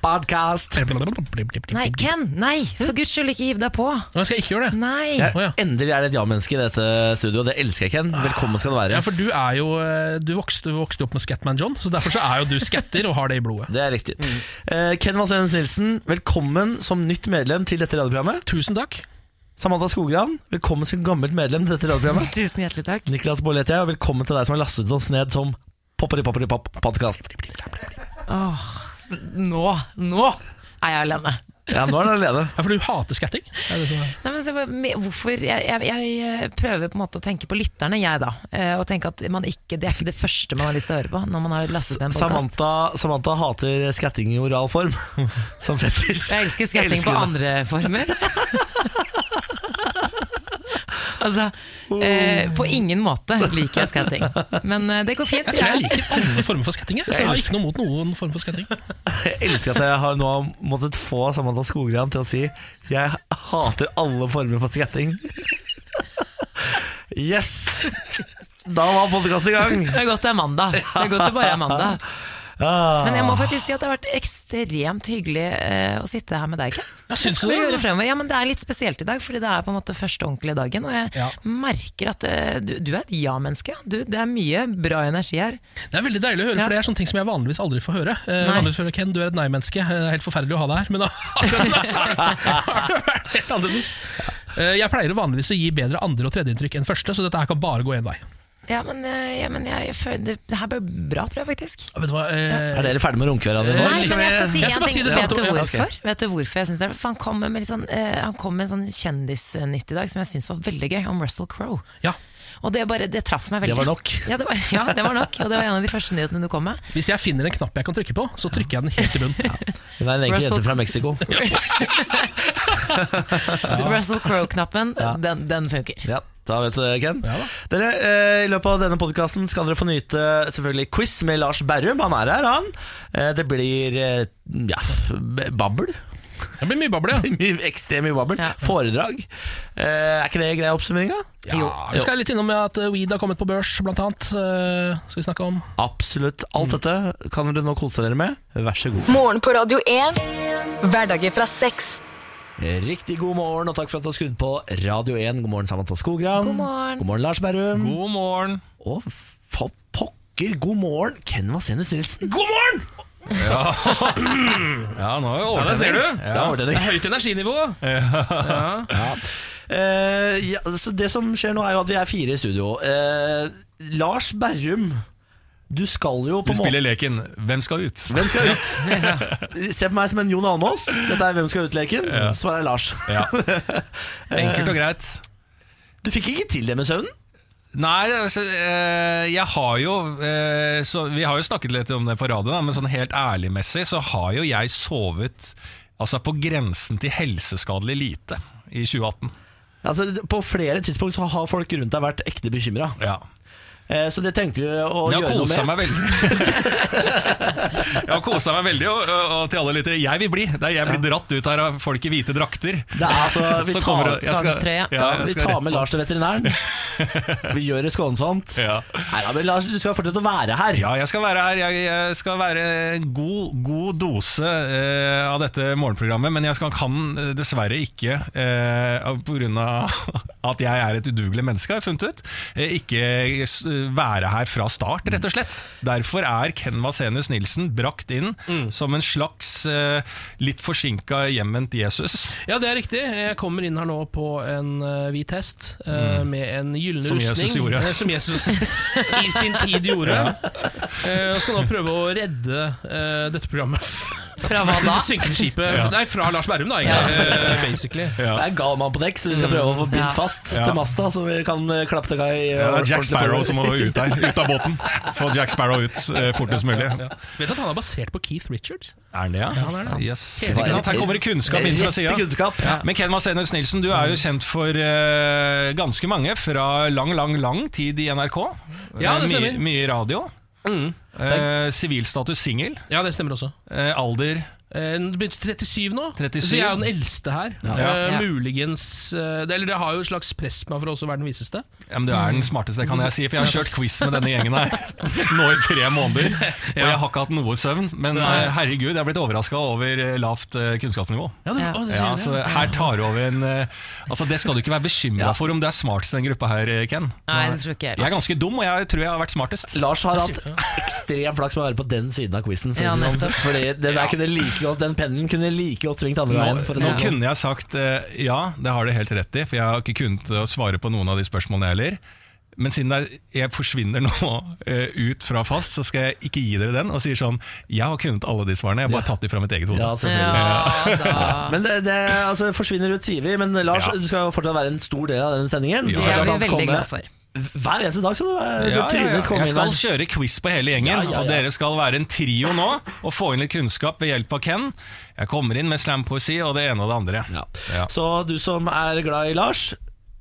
Podcast. Nei, Ken! Nei, for guds skyld, ikke hiv deg på. Nå skal jeg ikke gjøre det. Nei. Å, ja. Endelig er det et ja-menneske i dette studioet. Det elsker jeg, Ken. Velkommen skal du være. Ja, for du er jo eh, Du vokste, du vokste opp med Scatman John, så derfor så er jo du skatter og har det i blodet. Det er riktig. Eh, Ken Vasenius Nilsen, velkommen som nytt medlem til dette radioprogrammet. Tusen takk. Samantha Skogran, velkommen som gammelt medlem til dette radioprogrammet. Tusen hjertelig takk. Niklas Baarli heter jeg, og velkommen til deg som har lastet oss ned som Popperi-popperi-popp-podkast. Åh, nå, nå er jeg alene. Ja, nå er du alene. Ja, for du hater skatting? Er det sånn? Nei, men se, hva- me- hvorfor jeg, jeg, jeg prøver på en måte å tenke på lytterne, jeg da. eh, Og tenke at man ikke, det er ikke det første man har lyst til å høre på når man har lastet ned en podkast. Samantha, Samantha hater skatting i oral form, som fetisj. Jeg elsker skatting Elsker på det. andre former. altså, eh, på ingen måte liker jeg skatting. Men eh, det går fint. Jeg tror jeg liker alle former for skatting. Jeg. Så jeg har ikke noe mot noen form for skatting. Jeg elsker at jeg har nå måttet få Samantha Skogran til å si Jeg hater alle former for skatting. Yes! Da var podkasten i gang. Det er godt det er mandag. Det er godt det bare er mandag. Men jeg må faktisk si at det har vært ekstremt hyggelig eh, å sitte her med deg. Ken. Ja, syns Det skal du vi det, gjøre altså? fremover. Ja, men det er litt spesielt i dag, fordi det er på en måte første ordentlige dagen. Og jeg Ja. merker at eh, du, du er et ja-menneske. Du, Det er mye bra energi her. Det er veldig deilig å høre, Ja. for det er sånne ting som jeg vanligvis aldri får høre. Eh, Nei. vanligvis hører jeg, Ken, du er et nei-menneske. Eh, Det er helt forferdelig å ha deg her, men akkurat nå så er det- har det vært helt annerledes. Eh, jeg pleier å vanligvis å gi bedre andre- og tredjeinntrykk enn første, så dette her kan bare gå én vei. Ja, men, eh, ja, men jeg, føler- det, det her ble bra, tror jeg faktisk. Ja, vet du hva? Eh, Er dere ferdige med å runke hverandre nå? Nei, men jeg skal si Jeg skal en bare ting. si det vet, samme du to- ja, hvorfor? ok. vet du hvorfor jeg synes det? er- For han kom med, litt sånn, eh, han kom med en sånn kjendisnytt i dag som jeg syns var veldig gøy, om Russell Crowe. ja. Og det, bare, det traff meg veldig. Det var nok. Ja det, var, ja, det var nok. Og det var en av de første nyhetene du kom med. Hvis jeg finner en knapp jeg kan trykke på, så trykker jeg den helt i bunnen. Hun er en enkel Russell- jente fra Mexico. Russell Crowe-knappen, den, den funker. Ja, da vet du det, Ken. Ja da. Dere, eh, I løpet av denne podkasten skal dere få nyte selvfølgelig quiz med Lars Berrum. Han er her, han. Eh, Det blir eh, ja, b- babbel. Det blir mye bable, ja. Mye- Ekstremt mye babbel. Ja. Foredrag. Eh, Er ikke det grei oppsummering, da? Ja, vi skal litt innom at eh, weed har kommet på børs, blant annet. Eh, skal vi snakke om Absolutt. Mm. Alt dette kan dere nå kose dere med. Vær så god. Morgen på Radio 1. Hverdager fra seks. Riktig god morgen, og takk for at du har skrudd på Radio 1. God morgen, Samantha Skogran. God morgen. God morgen, Lars Berrum. God morgen. Og for pokker, god morgen, Ken Vasenus Nilsen. God morgen! Ja, nå er jeg Ja, der ser du. Ja. Da var det det. Høyt energinivå. Eh, ja, så det som skjer nå, er jo at vi er fire i studio. Eh, Lars Berrum, du skal jo på en Vi måte spiller leken Hvem skal ut? Hvem skal ut? Se på meg som en Jon Almaas. Dette er Hvem skal ut-leken. Svaret er Lars. Ja. Enkelt og greit. Du fikk ikke til det med søvnen? Nei, altså, eh, jeg har jo eh, så, Vi har jo snakket litt om det på radioen, da, men sånn helt ærligmessig så har jo jeg sovet altså på grensen til helseskadelig lite i 2018. Altså, på flere tidspunkt så har folk rundt deg vært ekte bekymra. Ja. Eh, Så det tenkte vi å Men gjøre Jeg har noe kosa med. meg veldig. jeg har kosa meg veldig, og, og til alle lyttere, jeg vil bli. Det er jeg blir dratt ut her av folk i hvite drakter. Det er altså, vi, Så tar, kommer det- jeg skal- tvangstrøya. Ja, jeg vi skal tar rett med Lars til veterinæren. Vi gjør det skånsomt. Ja. Nei, da, men Lars, du skal fortsette å være her. Ja, jeg skal være her. Jeg, jeg skal være en god, god dose eh, av dette morgenprogrammet, men jeg skal, kan dessverre ikke, eh, pga. at jeg er et udugelig menneske, har jeg funnet ut, eh, ikke s- være her fra start, rett og slett. Derfor er Ken Vasenius Nilsen brakt inn Mm. som en slags eh, litt forsinka hjemvendt Jesus. Ja, det er riktig. Jeg kommer inn her nå på en eh, hvit hest eh, med en gyllen Som rustning. Jesus gjorde. eh, som Jesus i sin tid gjorde. Eh, og skal nå prøve å redde eh, dette programmet Fra hva da? Det synkende skipet Nei, fra Lars Berrum, da, egentlig. eh, basically. Det er en gal mann på dekk, så Mm. vi skal prøve å få bindt fast til masta, så vi kan eh, klappe til Guy. Ja, det er Jack Sparrow som må ut her, ut av båten. Få Jack Sparrow ut eh, fortest mulig. Ja. Vet du at han er basert på Keith Richards? Er han det, ja? han er det. Yes. Ikke sant? Her kommer det kunnskap inn fra sida. Rett kunnskap. Men Ken Vasenius Nilsen, du Mm. er jo kjent for eh, ganske mange fra lang, lang, lang tid i NRK. Ja, det Eh, stemmer. Mm. Mye, mye radio. Eh, Sivilstatus singel. Ja, det stemmer også. Eh, alder Eh, Du begynte 37 nå, 37. så jeg er jo den eldste her. Eh, Ja. Muligens eh, det- Eller det har jo et slags press på meg for å også være den viseste. Ja, men Du er den smarteste, det kan jeg si, for jeg har kjørt quiz med denne gjengen her nå i tre måneder. Og jeg har ikke hatt noe søvn, men eh, herregud, jeg er blitt overraska over eh, lavt eh, kunnskapsnivå. Ja, det, Ja. Å, det sier Ja, du, så ja. her tar du over en eh, Altså Det skal du ikke være bekymra for om du er smartest i den gruppa her, eh, Ken. Nei, det tror ikke jeg Jeg er ganske dum, og jeg tror jeg har vært smartest. Lars har hatt ekstrem flaks med å være på den siden av quizen. For Ja, å si det sånn. nettopp. Fordi det der kunne like godt, den pennen kunne like godt svingt andre Nå, veien. For å si nå det sånn. kunne jeg sagt eh, ja, det har du helt rett i, for jeg har ikke kunnet å svare på noen av de spørsmålene jeg heller. Men siden det er- jeg forsvinner nå eh, ut fra fast, så skal jeg ikke gi dere den. Og sier sånn Jeg har kunnet alle de svarene, jeg har bare tatt de fra mitt eget sånn. hode. Ja, altså, selvfølgelig. Ja, da. Men det, det altså, forsvinner ut, sier vi. Men Lars, Ja. du skal jo fortsatt være en stor del av den sendingen. Du Sånn Det skal er vi blant annet veldig komme- glad for. Hver eneste dag skal du, være- du Ja, ja, trynet ja. komme inn Jeg skal der. kjøre quiz på hele gjengen, Ja, ja, ja. og dere skal være en trio nå og få inn litt kunnskap ved hjelp av Ken. Jeg kommer inn med slampoesi og det ene og det andre. Ja. Ja. Så du som er glad i Lars,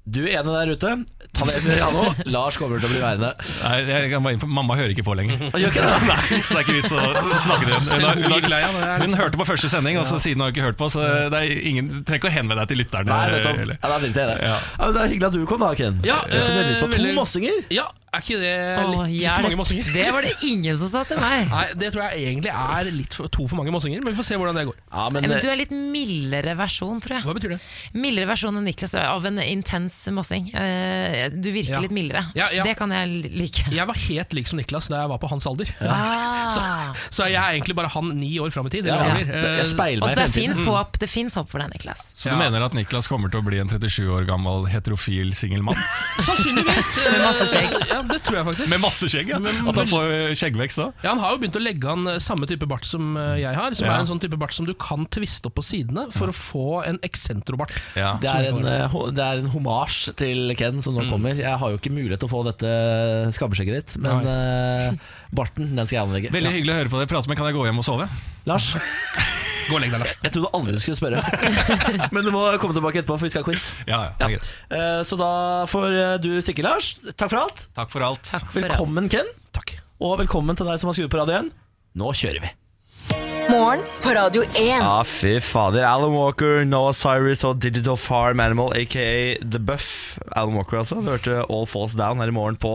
du ene der ute, ta det med Janno. Lars kommer til å bli værende. Nei, jeg kan bare inn på- Mamma hører ikke på lenger. Han gjør ikke det. Nei, så det er ikke vits å snakke til henne. Hun, har- hun, har- hun hørte på første sending, og så siden har hun ikke hørt på. Så det er ingen, du trenger ikke å henvende deg til lytterne. eh, Nei, vet du. om- eller- Ja, da driter jeg i det. Ja. Ja, men det er hyggelig at du kom, da, Ken. Ja, Jeg setter veldig pris på eh, to veldig- mossinger. Ja, er ikke det litt, Åh, litt hjelp. mange mossinger? Det var det ingen som sa til meg. Nei, det tror jeg egentlig er litt for, to for mange mossinger, men vi får se hvordan det går. Ja, men, Men du er litt mildere versjon, tror jeg. Hva betyr det? Mildere versjon enn Niklas av en intens mossing. Eh, Du virker Ja. litt mildere. Ja, ja. Det kan jeg like. Jeg var helt lik som Niklas da jeg var på hans alder. Ah. Så jeg er egentlig bare han ni år fram i tid. eller Ja, over. Eh, Jeg speiler Altså, meg i det fremtiden. Mm. fins håp, det finnes håp for deg, Niklas. Så du mener at Niklas kommer til å bli en 37 år gammel heterofil singelmann? Sannsynligvis. Med masse skjegg. Ja, det tror jeg faktisk. Med masse skjegg, ja. At han får eh, skjeggvekst da? Ja, Han har jo begynt å legge an eh, samme type bart som eh, jeg har. Som Ja. er en sånn type bart som du kan tviste opp på sidene for å få en eksentrobart. Ja. Det er, en, eh, ho- det er en homasj til Ken som nå kommer. Jeg har jo ikke mulighet til å få dette skabbeskjegget ditt, men eh, barten den skal jeg anlegge. Veldig hyggelig å høre på deg prate, men kan jeg gå hjem og sove? Lars, Gå og legg deg, Lars. jeg trodde aldri du skulle spørre. men du må komme tilbake etterpå, for vi skal ha quiz. Ja, ja, det er Ja. greit. Eh, Så da får eh, du stikke, Lars. Takk for alt. Takk for alt. For alt. Velkommen, Ken. Takk. Og velkommen til deg som har skrudd på radioen. Nå kjører vi. Morgen på Radio 1. Ja, Ah, fy fader. Alan Walker, Noah Cyrus og Digital Farm Animal, aka The Buff. Alan Walker, altså. Du hørte All Falls Down her i morgen på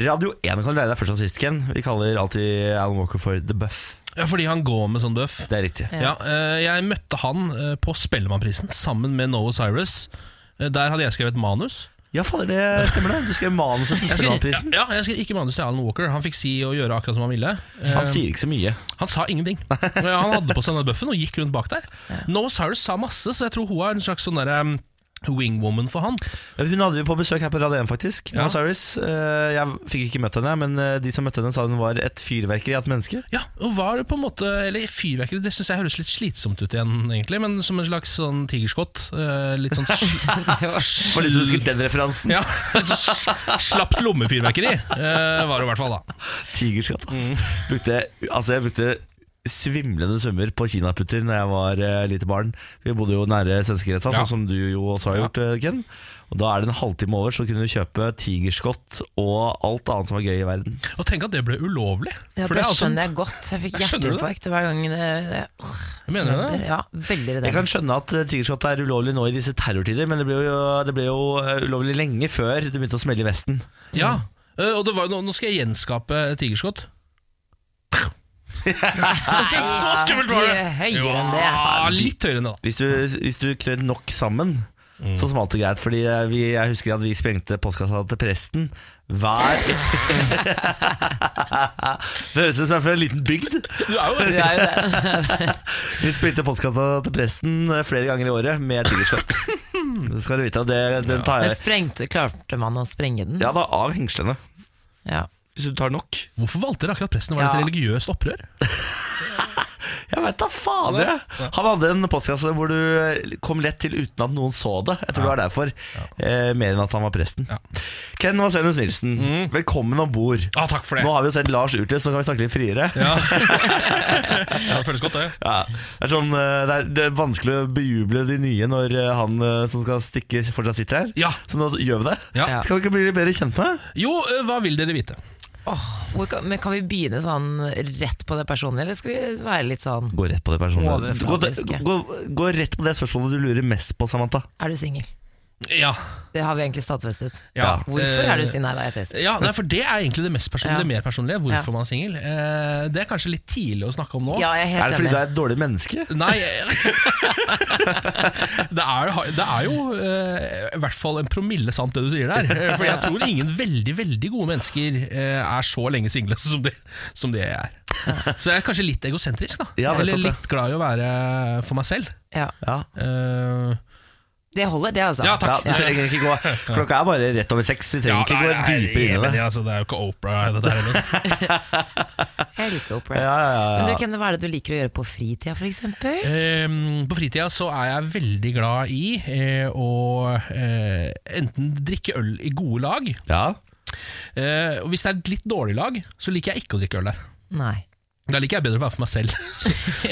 Radio 1. Kan du lære deg først og sist, Ken? Vi kaller alltid Alan Walker for The Buff. Ja, fordi han går med sånn døff. Det er riktig. Ja, eh, Jeg møtte han eh, på Spellemannprisen sammen med Noah Cyrus. Eh, Der hadde jeg skrevet manus. Ja, fader, det stemmer det. Du skrev manuset til Jeg skrev, Spellemannprisen. ja, jeg skrev ikke manus til Alan Walker. Han fikk si og gjøre akkurat som han ville. Eh, Han sier ikke så mye. Han sa ingenting. Eh, Han hadde på seg denne bøffen og gikk rundt bak der. Noah Cyrus sa masse, så jeg tror hun er en slags sånn derre um, wingwoman for han. Hun hadde vi på besøk her på Radio 1, faktisk. Ja. Noah Cyrus. Eh, Jeg fikk ikke møtt henne, men eh, de som møtte henne, sa hun var et fyrverkeri av et menneske. Ja, og var på en måte Eller fyrverkeri, det syns jeg høres litt slitsomt ut igjen, egentlig. Men som en slags sånn tigerskott. eh, Litt sånn sl- For de som husker den referansen. Ja, litt sånn sl- Slapt lommefyrverkeri eh, var det i hvert fall, da. Tigerskatt, altså. Brukte, altså jeg brukte svimlende summer på kinaputter Når jeg var eh, lite barn. Vi bodde jo nære svenskegrensa, Ja. sånn som du jo også har gjort, eh, Ken. Og Da er det en halvtime over, så kunne du kjøpe tigerskott og alt annet som var gøy i verden. Og tenk at det ble ulovlig. Ja, For det er altså- skjønner jeg godt. Jeg fikk Ja, skjønner du det? hjerteinfarkt hver gang det, det åh, Mener du det? kjente- Ja, veldig Jeg redd. kan skjønne at eh, tigerskott er ulovlig nå i disse terrortider, men det ble jo, det ble jo eh, ulovlig lenge før det begynte å smelle i Vesten. Ja, eh, og det var, nå, nå skal jeg gjenskape tigerskott. så skummelt var det! Mye høyere enn det. Ja, litt høyere enn det, da. Hvis du, hvis du klør nok sammen, så smalt det greit. Fordi eh, vi, jeg husker at vi sprengte postkassa til presten hver Det høres ut som jeg er fra en liten bygd. Du er jo det. Vi sprengte postkassa til presten eh, flere ganger i året med tigerskott. Det skal du vite. og Det, den tar Men jeg sprengte, klarte man å sprenge den? Ja da, av hengslene. Ja. Hvis du tar nok. Hvorfor valgte dere akkurat presten? Var det et Ja. religiøst opprør? Jeg veit da fader! jeg. Han hadde en postkasse hvor du eh, kom lett til uten at noen så det. Jeg tror det var derfor. Eh, mer enn at han var presten. Ja. Ken Vasenius Nilsen, velkommen om bord. Ah, takk for det. Nå har vi jo sett Lars Urtles, nå kan vi snakke litt friere. Ja. Ja, det føles godt, det. Det, er sånn, eh, det, er, det er vanskelig å bejuble de nye når eh, han eh, som skal stikke, fortsatt sitter her. Ja. Så nå gjør vi det. Ja. Skal vi ikke bli litt bedre kjent med deg? Jo, eh, hva vil dere vite? Å, Hvor kan, men kan vi begynne sånn rett på det personlige, eller skal vi være litt sånn Gå rett på det personlige. Gå, Overfladiske. gå, gå rett på det spørsmålet du lurer mest på, Samantha. Er du singel? Ja, Det har vi egentlig stadfestet. Ja. Hvorfor eh, er du singel? Nei, da er jeg tøyser. Ja, nei, for Det er egentlig det mest personlige. Ja. Det mer personlige Hvorfor Ja. man er singel. Eh, det er kanskje litt tidlig å snakke om nå. Ja, jeg er Er det helt fordi du enig. er et dårlig menneske? Nei det, er, det er jo eh, i hvert fall en promille sant det du sier der. Eh, For jeg tror ingen veldig veldig gode mennesker eh, er så lenge single som det, som det jeg er. Så jeg er kanskje litt egosentrisk, da. Ja, nettopp Eller det. litt glad i å være for meg selv. Ja. Ja. Eh, Det holder, det, altså. Ja, Ja, takk. du trenger ikke gå Klokka er bare rett over seks. Vi trenger ikke nei, gå jeg er dypere inn i enig, det. Altså, det er jo ikke Opera, dette her heller. Jeg elsker opera. Ja, ja, ja, ja. Men du, Kenne, hva er det du liker å gjøre på fritida, f.eks.? Ehm, på fritida så er jeg veldig glad i eh, å eh, enten drikke øl i gode lag. ja. eh, og hvis det er et litt dårlig lag, så liker jeg ikke å drikke øl der. Nei. Da liker jeg bedre å være for meg selv. Så,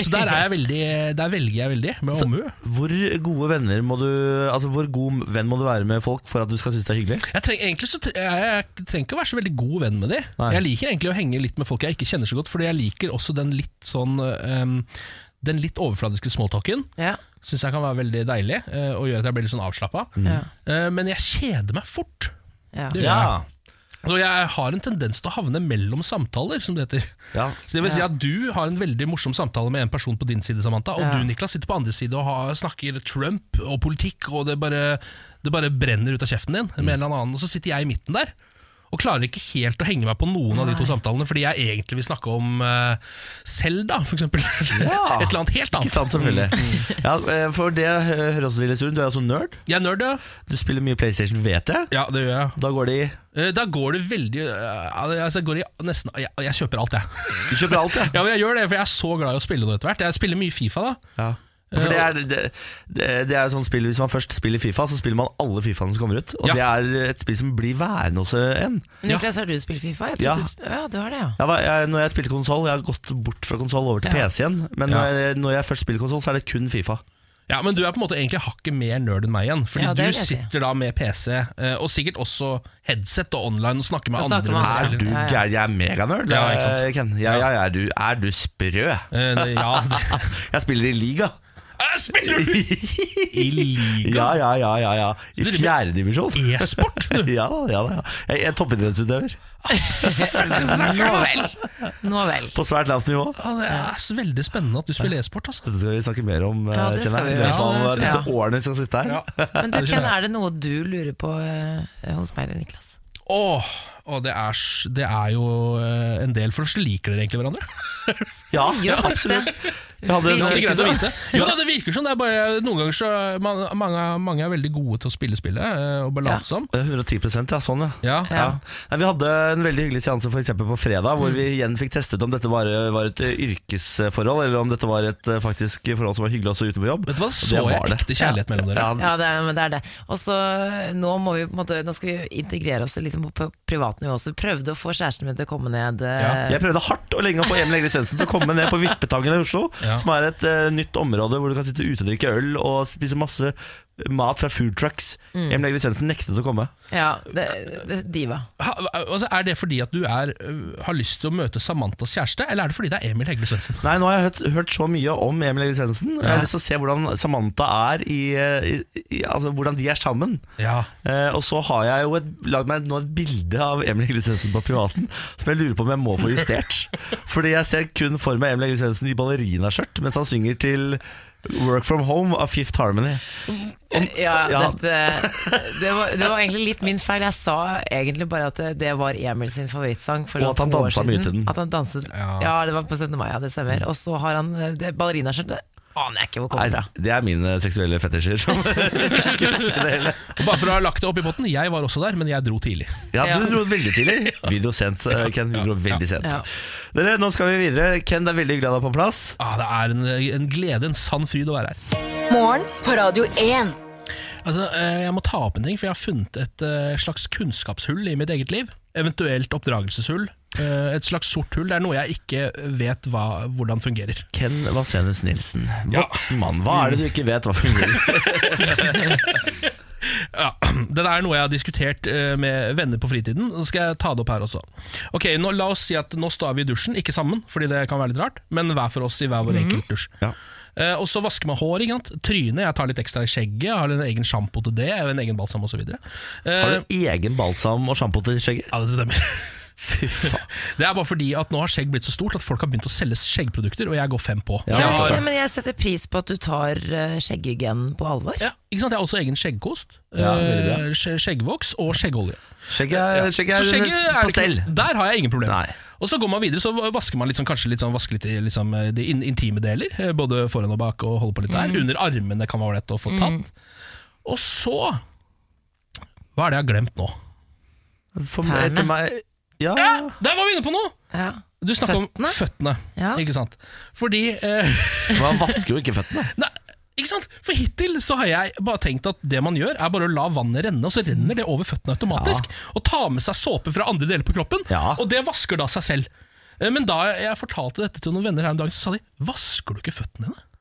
så der, er jeg veldig, der velger jeg veldig, med omhu. Hvor gode venner må du Altså hvor god venn må du være med folk for at du skal synes det er hyggelig? Jeg treng, egentlig så tre, jeg, jeg trenger ikke å være så veldig god venn med de. Nei. Jeg liker egentlig å henge litt med folk jeg ikke kjenner så godt, fordi jeg liker også den litt sånn ehm, den litt overfladiske smalltalken Ja. syns jeg kan være veldig deilig, eh, og gjør at jeg blir litt sånn avslappa. Ja. Eh, men jeg kjeder meg fort. Ja. Det gjør jeg. Og jeg har en tendens til å havne mellom samtaler, som det heter. ja. Så det vil si at Du har en veldig morsom samtale med en person på din side, Samantha, og Ja. du Niklas, sitter på andre side og har, snakker Trump og politikk, og det bare, det bare brenner ut av kjeften din. Med Mm. en eller annen, og Så sitter jeg i midten der og klarer ikke helt å henge meg på noen av de to samtalene, fordi jeg egentlig vil snakke om eh, Selda, for eksempel. Ja. Et eller annet helt Ikke annet. sant, selvfølgelig. Ja, eh, for det jeg hører også til i stunden, du er også nerd. Jeg er nerd, ja. Du spiller mye PlayStation, vet jeg. Ja, det gjør jeg. Da går det i Eh, Da går det veldig eh, altså, jeg, går i nesten, jeg, jeg kjøper alt, jeg. Du kjøper alt, ja. Ja, men jeg gjør det, for jeg er så glad i å spille det etter hvert. Jeg spiller mye Fifa, da. ja. For det er, det, det det er jo sånn spill Hvis man først spiller Fifa, så spiller man alle Fifaene som kommer ut. Og Ja. det er et spill som blir værende hos en. Niklas, har du spilt Fifa? Jeg Ja. trodde du sp- ja, du har det, ja. Ja, da, jeg, når jeg spilte konsoll, jeg har gått bort fra konsoll over til Ja. PC igjen. Men Ja. når, jeg, når jeg først spiller konsoll, så er det kun Fifa. Ja, Men du er på en måte egentlig hakket mer nerd enn meg igjen. Fordi Ja, det vil du jeg si. sitter da med PC, eh, og sikkert også headset og online, og snakker med Og andre. snakker med mennesker. andre. Er du Ja, ja. gæren? Jeg er meganerd. Ja, ikke sant. eh, Ken. Ja, ja, ja, er, du, er du sprø? Eh, det- ja, det. Jeg spiller i liga. Eh, Spiller du i liga? Ja, ja, ja. ja, ja. I driver- E? fjerdedivisjon. E-sport? du? Ja da, ja da. Ja. Jeg er toppidrettsutøver. Nå vel. Nå vel. På svært lavt nivå. Ja, det er så veldig spennende at du spiller e-sport. altså Dette skal vi snakke mer om Ja, eh, det skal kjenner jeg, vi i gjøre. løpet av Ja, det disse skal vi. årene vi skal sitte her. Ja. Men du, Det Ken, skjønner jeg. er det noe du lurer på eh, hos meg eller Niklas? Åh, og det er, s- det er jo eh, en del, for så liker dere egentlig hverandre. Ja, Gjør faktisk det. absolutt. Jeg hadde Vi en, Det er Virker ikke greit å sånn. vite. Jo da, det virker sånn. Det er bare, noen ganger så man, mange, mange er veldig gode til å spille spillet eh, og bare Ja. late som. 110 ja. Sånn, ja. Ja. Ja. Nei, vi hadde en veldig hyggelig seanse for eksempel på fredag, Mm. hvor vi igjen fikk testet om dette var, var et eh, yrkesforhold, eller om dette var et eh, faktisk forhold som var hyggelig også ute på jobb. Vet du hva, Og så det var jeg det. ekte kjærlighet mellom dere. Ja, Ja, det er, men det er det. Og så eh, nå, må vi, på en måte, nå skal vi jo integrere oss litt på på privat nivå også. Prøvde å få kjæresten min til å komme ned. eh, Jeg prøvde hardt og lenge å få Emil Egil Svendsen til å komme ned på Vippetangen i Oslo, Ja. som er et eh, nytt område hvor du kan sitte ute og drikke øl og spise masse mat fra food trucks. Emil Egil Svendsen nektet å komme. ja det, det, diva. Ha, altså, er det fordi at du er, øh, har lyst til å møte Samantas kjæreste, eller er det fordi det er Emil Hegle Svendsen? Nei, nå har jeg hørt, hørt så mye om Emil Egil Svendsen. Jeg har lyst til å se hvordan Samantha er i, i, i Altså hvordan de er sammen. Ja. Eh, og så har jeg jo et, lagd meg nå et bilde av Emil Egil Svendsen på privaten som jeg lurer på om jeg må få justert. Fordi jeg ser kun for meg Emil Egil Svendsen i ballerinaskjørt mens han synger til Work From Home av Fifth Harmony. Ja, ja. Dette, det, var, det var egentlig litt min feil. Jeg sa egentlig bare at det, det var Emil sin favorittsang. For Og sånn at han to år dansa mye siden. til den. Mm. At han danset, ja. Ja. det var på 17. mai, ja, det stemmer. Og så har han eh, det ballerinaskjørtet. Aner jeg ikke hvor Nei, kommer fra. det er mine seksuelle fetisjer. Som Og bare for å ha lagt det opp i potten, jeg var også der, men jeg dro tidlig. ja, Ja. du dro veldig tidlig. Vi dro sent, eh, Ken. Vi dro veldig sent. Ja. Dere, nå skal vi videre. Ken, det er veldig hyggelig å ha deg på plass. Ah, det er en, en glede, en sann fryd å være her. Morgen på Radio 1. Altså, eh, jeg må ta opp en ting, for jeg har funnet et eh, slags kunnskapshull i mitt eget liv. Eventuelt oppdragelseshull. Eh, Et slags sort hull. Det er noe jeg ikke vet hva, hvordan fungerer. Ken Vasenus Nilsen. Voksen mann. Hva er det du ikke vet hva fungerer? Ja, Det er noe jeg har diskutert eh, med venner på fritiden. Så skal jeg ta det opp her også. Ok, nå, La oss si at nå står vi i dusjen, ikke sammen, fordi det kan være litt rart, men hver for oss i hver vår enkelt dusj. Mhm. Ja. Eh, og så vasker man hår, ikke sant? trynet, jeg tar litt ekstra i skjegget, jeg har en egen sjampo til det, en egen balsam osv. Har Uh, du egen balsam og sjampo til skjegget? ja, det stemmer. Det er bare fordi at nå har skjegg blitt så stort at folk har begynt å selge skjeggprodukter, og jeg går fem på. Ja, jeg Nei, har, men jeg setter pris på at du tar uh, skjegghygienen på alvor. ja, ikke sant? Jeg har også egen skjeggkost, Ja, veldig bra. eh, skje- skjeggvoks og skjeggolje. Skjegget er, skjegget Så er, skjegget er på det ikke stell. noe- Der har jeg ingen problemer. Nei. Og så går man videre, så vasker man litt sånn, kanskje litt sånn, vasker litt i liksom, eh, de in intime deler. eh, Både foran og bak, og holder på litt der. Mm. Under armene kan være ålreit å få tatt. Og så Hva er det jeg har glemt nå? For Tærne. etter meg ja. Ja, der var vi inne på noe! Ja. Du snakker om Føttene? føttene. Ja. Ikke sant? Fordi eh, Man vasker jo ikke føttene. Nei, ikke sant? For hittil så har jeg bare tenkt at det man gjør, er bare å la vannet renne, og så renner det over føttene automatisk. Og ta med seg såpe fra andre deler på kroppen, Ja. og det vasker da seg selv. Eh, Men da jeg fortalte dette til noen venner her om dagen, så sa de Vasker du ikke føttene dine?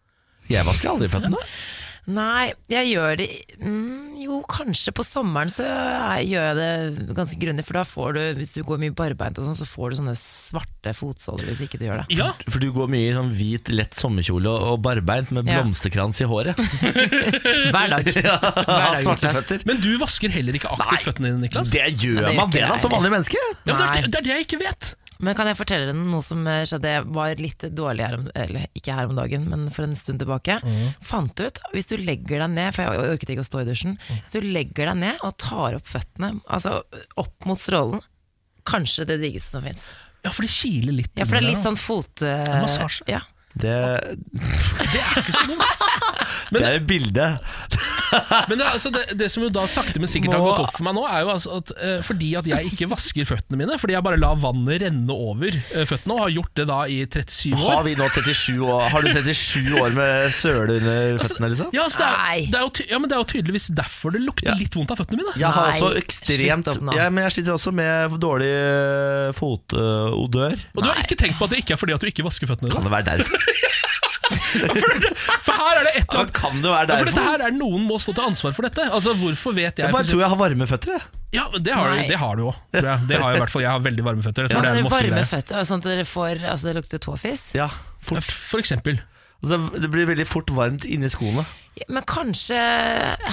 Jeg vasker aldri føttene. Nei, jeg gjør det mm, Jo, kanskje på sommeren så er- gjør jeg det ganske grundig, for da får du, hvis du går mye barbeint og sånn, så får du sånne svarte fotsåler hvis ikke du gjør det. Ja, For du går mye i sånn hvit, lett sommerkjole og og barbeint med Ja. blomsterkrans i håret. Hver dag. Har svarte Niklas. føtter. Men du vasker heller ikke aktivt føttene dine, Niklas. Det gjør Nei, det man gjør det ikke da, jeg som vanlig menneske. Ja, men det, Nei. er, det er det jeg ikke vet. Men kan jeg fortelle deg noe som eh, skjedde? Jeg var litt dårlig her om, eller ikke her om dagen, men for en stund tilbake. Fant ut, hvis du legger deg ned, for jeg orket ikke å stå i dusjen, hvis du legger deg ned og tar opp føttene, altså opp mot strålen, kanskje det diggeste som fins. Ja, for det kiler litt. Ja, for det er under litt der, sånn fot... En massasje. Ja. Det, da. Ikke så dumt. det er et bilde. sånn- Men det, er altså, det, det som jo da sakte, men sikkert har Må- gått opp for meg nå, er jo altså at eh, fordi at jeg ikke vasker føttene mine, fordi jeg bare lar vannet renne over eh, føttene, og har gjort det da i 37 år Har vi nå 37 år Har du 37 år med søle under føttene, liksom? ja, altså, det, er, Nei. det, er jo, ty- ja, men det er jo tydeligvis derfor det lukter Ja. litt vondt av føttene mine. Jeg har Nei, også slutt ekstremt opp nå. ja, Men jeg sliter også med dårlig øh, fotodør. Og du har ikke tenkt på at det ikke er fordi at du ikke vasker føttene Kan dine? det være derfor? For, for her er det et eller Ja, annet kan det være ja, for dette derfor? her er Noen må stå til ansvar for dette. Altså, Hvorfor vet jeg Jeg bare tror jeg har varme føtter. jeg. Ja, men Det har du Nei. det har du jo. tror jeg. Det har jeg i hvert fall. Jeg har veldig varme føtter. Jeg Ja, tror det er dere en varme mossegreie. føtter, sånn at dere får Altså, det lukter tåfis. Ja, fort. For eksempel. Altså, det blir veldig fort varmt inni skoene. Men kanskje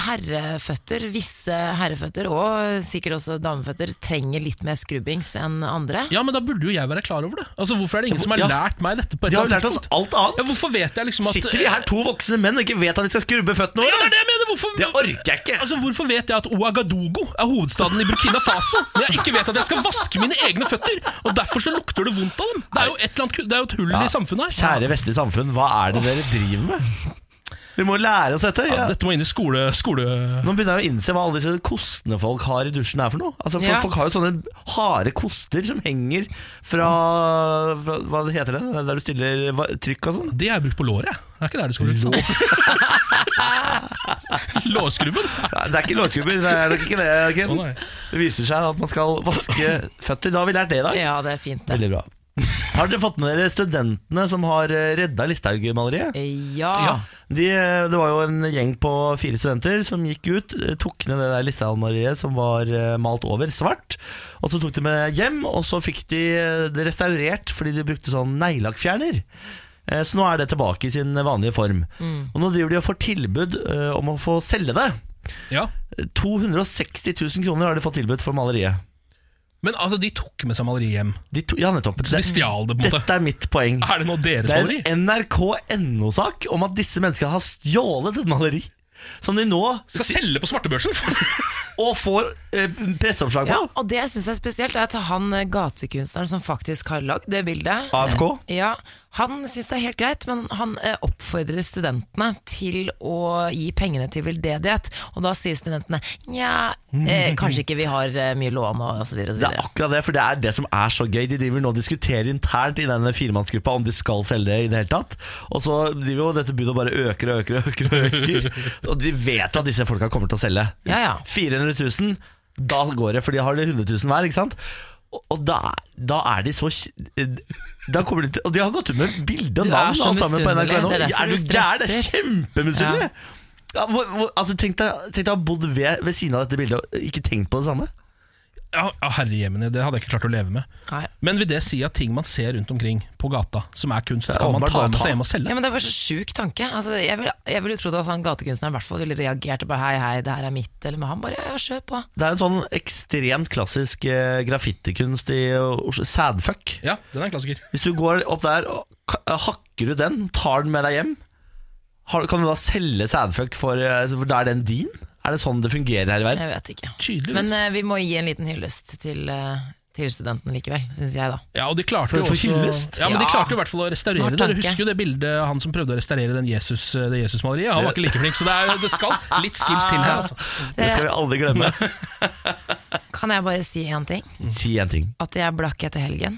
herreføtter, visse herreføtter, og sikkert også dameføtter, trenger litt mer skrubbings enn andre. Ja, men da burde jo jeg være klar over det. Altså, Hvorfor er det ingen som har Ja. lært meg dette? på et De har eller jo lært annet oss tidspunkt? alt annet. Ja, Hvorfor vet jeg liksom at Sitter vi her to voksne menn og ikke vet at vi skal skrubbe føttene Ja, det våre? er det jeg mener! Hvorfor, Det orker jeg ikke. Altså, hvorfor vet jeg at Ouagadougou er hovedstaden i Burkina Faso, når jeg ikke vet at jeg skal vaske mine egne føtter? Og derfor så lukter det vondt av dem. Det er jo et, eller annet, ku- det er jo et hull Ja. i samfunnet her. Kjære vestlige samfunn, hva er det dere driver med? Vi må lære oss dette. Ja, Ja. Dette må inn i skole... skole Nå begynner jeg å innse hva alle disse kostene folk har i dusjen er for noe. Altså, folk, Ja. folk har jo sånne harde koster som henger fra, fra Hva heter det? Der du stiller va- trykk og sånn. det har jeg brukt på låret. jeg. Det er ikke der det skal brukes. Lårskrubben? Nei, Det er ikke lårskubber, det er nok ikke det. Ken. Å, nei. det viser seg at man skal vaske føtter. Da har vi lært det i dag. Ja, det er fint, det. Veldig bra. Har dere fått med dere studentene som har eh, redda Listhaug-maleriet? Ja. Ja, de, det var jo en gjeng på fire studenter som gikk ut, eh, tok ned det der listealmariet som var eh, malt over svart, og så tok de med hjem, og så fikk de eh, det restaurert fordi de brukte sånn neglelakkfjerner. Eh, Så nå er det tilbake i sin vanlige form. Og nå driver de og får tilbud eh, om å få selge det. Eh, Ja. 260 000 kroner har de fått tilbud for maleriet. Men altså, de tok med seg maleriet hjem. De to, ja, nettopp. Så de stjal det, på en måte. Dette er mitt poeng. Er det nå deres Det er maleri? en NRK.no-sak om at disse menneskene har stjålet et maleri. Som de nå Skal selge på svartebørsen? Og får eh, presseoppslag på. Ja, og det jeg syns er spesielt, er at han eh, gatekunstneren som faktisk har lagd det bildet AFK. ja, Han syns det er helt greit, men han eh, oppfordrer studentene til å gi pengene til veldedighet. Og da sier studentene nja, eh, kanskje ikke vi har eh, mye lån og osv. Det er akkurat det, for det er det som er så gøy. De driver nå og diskuterer internt i denne firemannsgruppa om de skal selge det i det hele tatt. Og så driver jo dette budet og bare øker og øker og øker. Og øker Og de vet jo at disse folka kommer til å selge. Ja, ja. 400 000, da går det, for de har det 100 000 hver, ikke sant? Og- Og da, da er de så kj- da kommer de til, Og de har gått ut med bilde og Du er navn så og alt sammen på misunnelig. NRK.no. Det er derfor Er du gæren? du Det er stresser. kjempemisunnelig! Ja, hvor, hvor, altså, tenk deg tenk deg å ha bodd ved, ved siden av dette bildet og ikke tenkt på det samme. Ja, ja, herre jemini, det hadde jeg ikke klart å leve med. Nei. Men vil det si at ting man ser rundt omkring på gata, som er kunst, Det er kan man åpenbart ta bare å med ta. seg hjem og Ja, selge? men Det var så sjuk tanke. Altså, jeg ville jeg ville jo trodd at han gatekunstneren i hvert fall ville reagert og bare hei, hei, det her er mitt, eller men han bare ja, ja, kjør på. Det er en sånn ekstremt klassisk eh, graffitikunst i Oslo. Sadfuck. Ja, den er en klassiker. Hvis du går opp der og ka- eh, hakker ut den, tar den med deg hjem, har, kan du da selge sadfuck for, eh, for da er den din? Er det sånn det fungerer her i verden? Jeg vet ikke. Tydeligvis. Men eh, vi må gi en liten hyllest til, eh, til studentene likevel, syns jeg, da. ja, og de klarte Så jo for også hyllest? Ja, men de Ja. klarte jo i hvert fall å Smart restaurere det. Dere tanke. husker jo det bildet han som prøvde å restaurere den Jesus, eh, det Jesusmaleriet? Han var ikke like flink, så det, er, det skal litt skills til her. Altså. Det skal vi aldri glemme. Kan jeg bare si én ting? Si én ting. At jeg blakk etter helgen.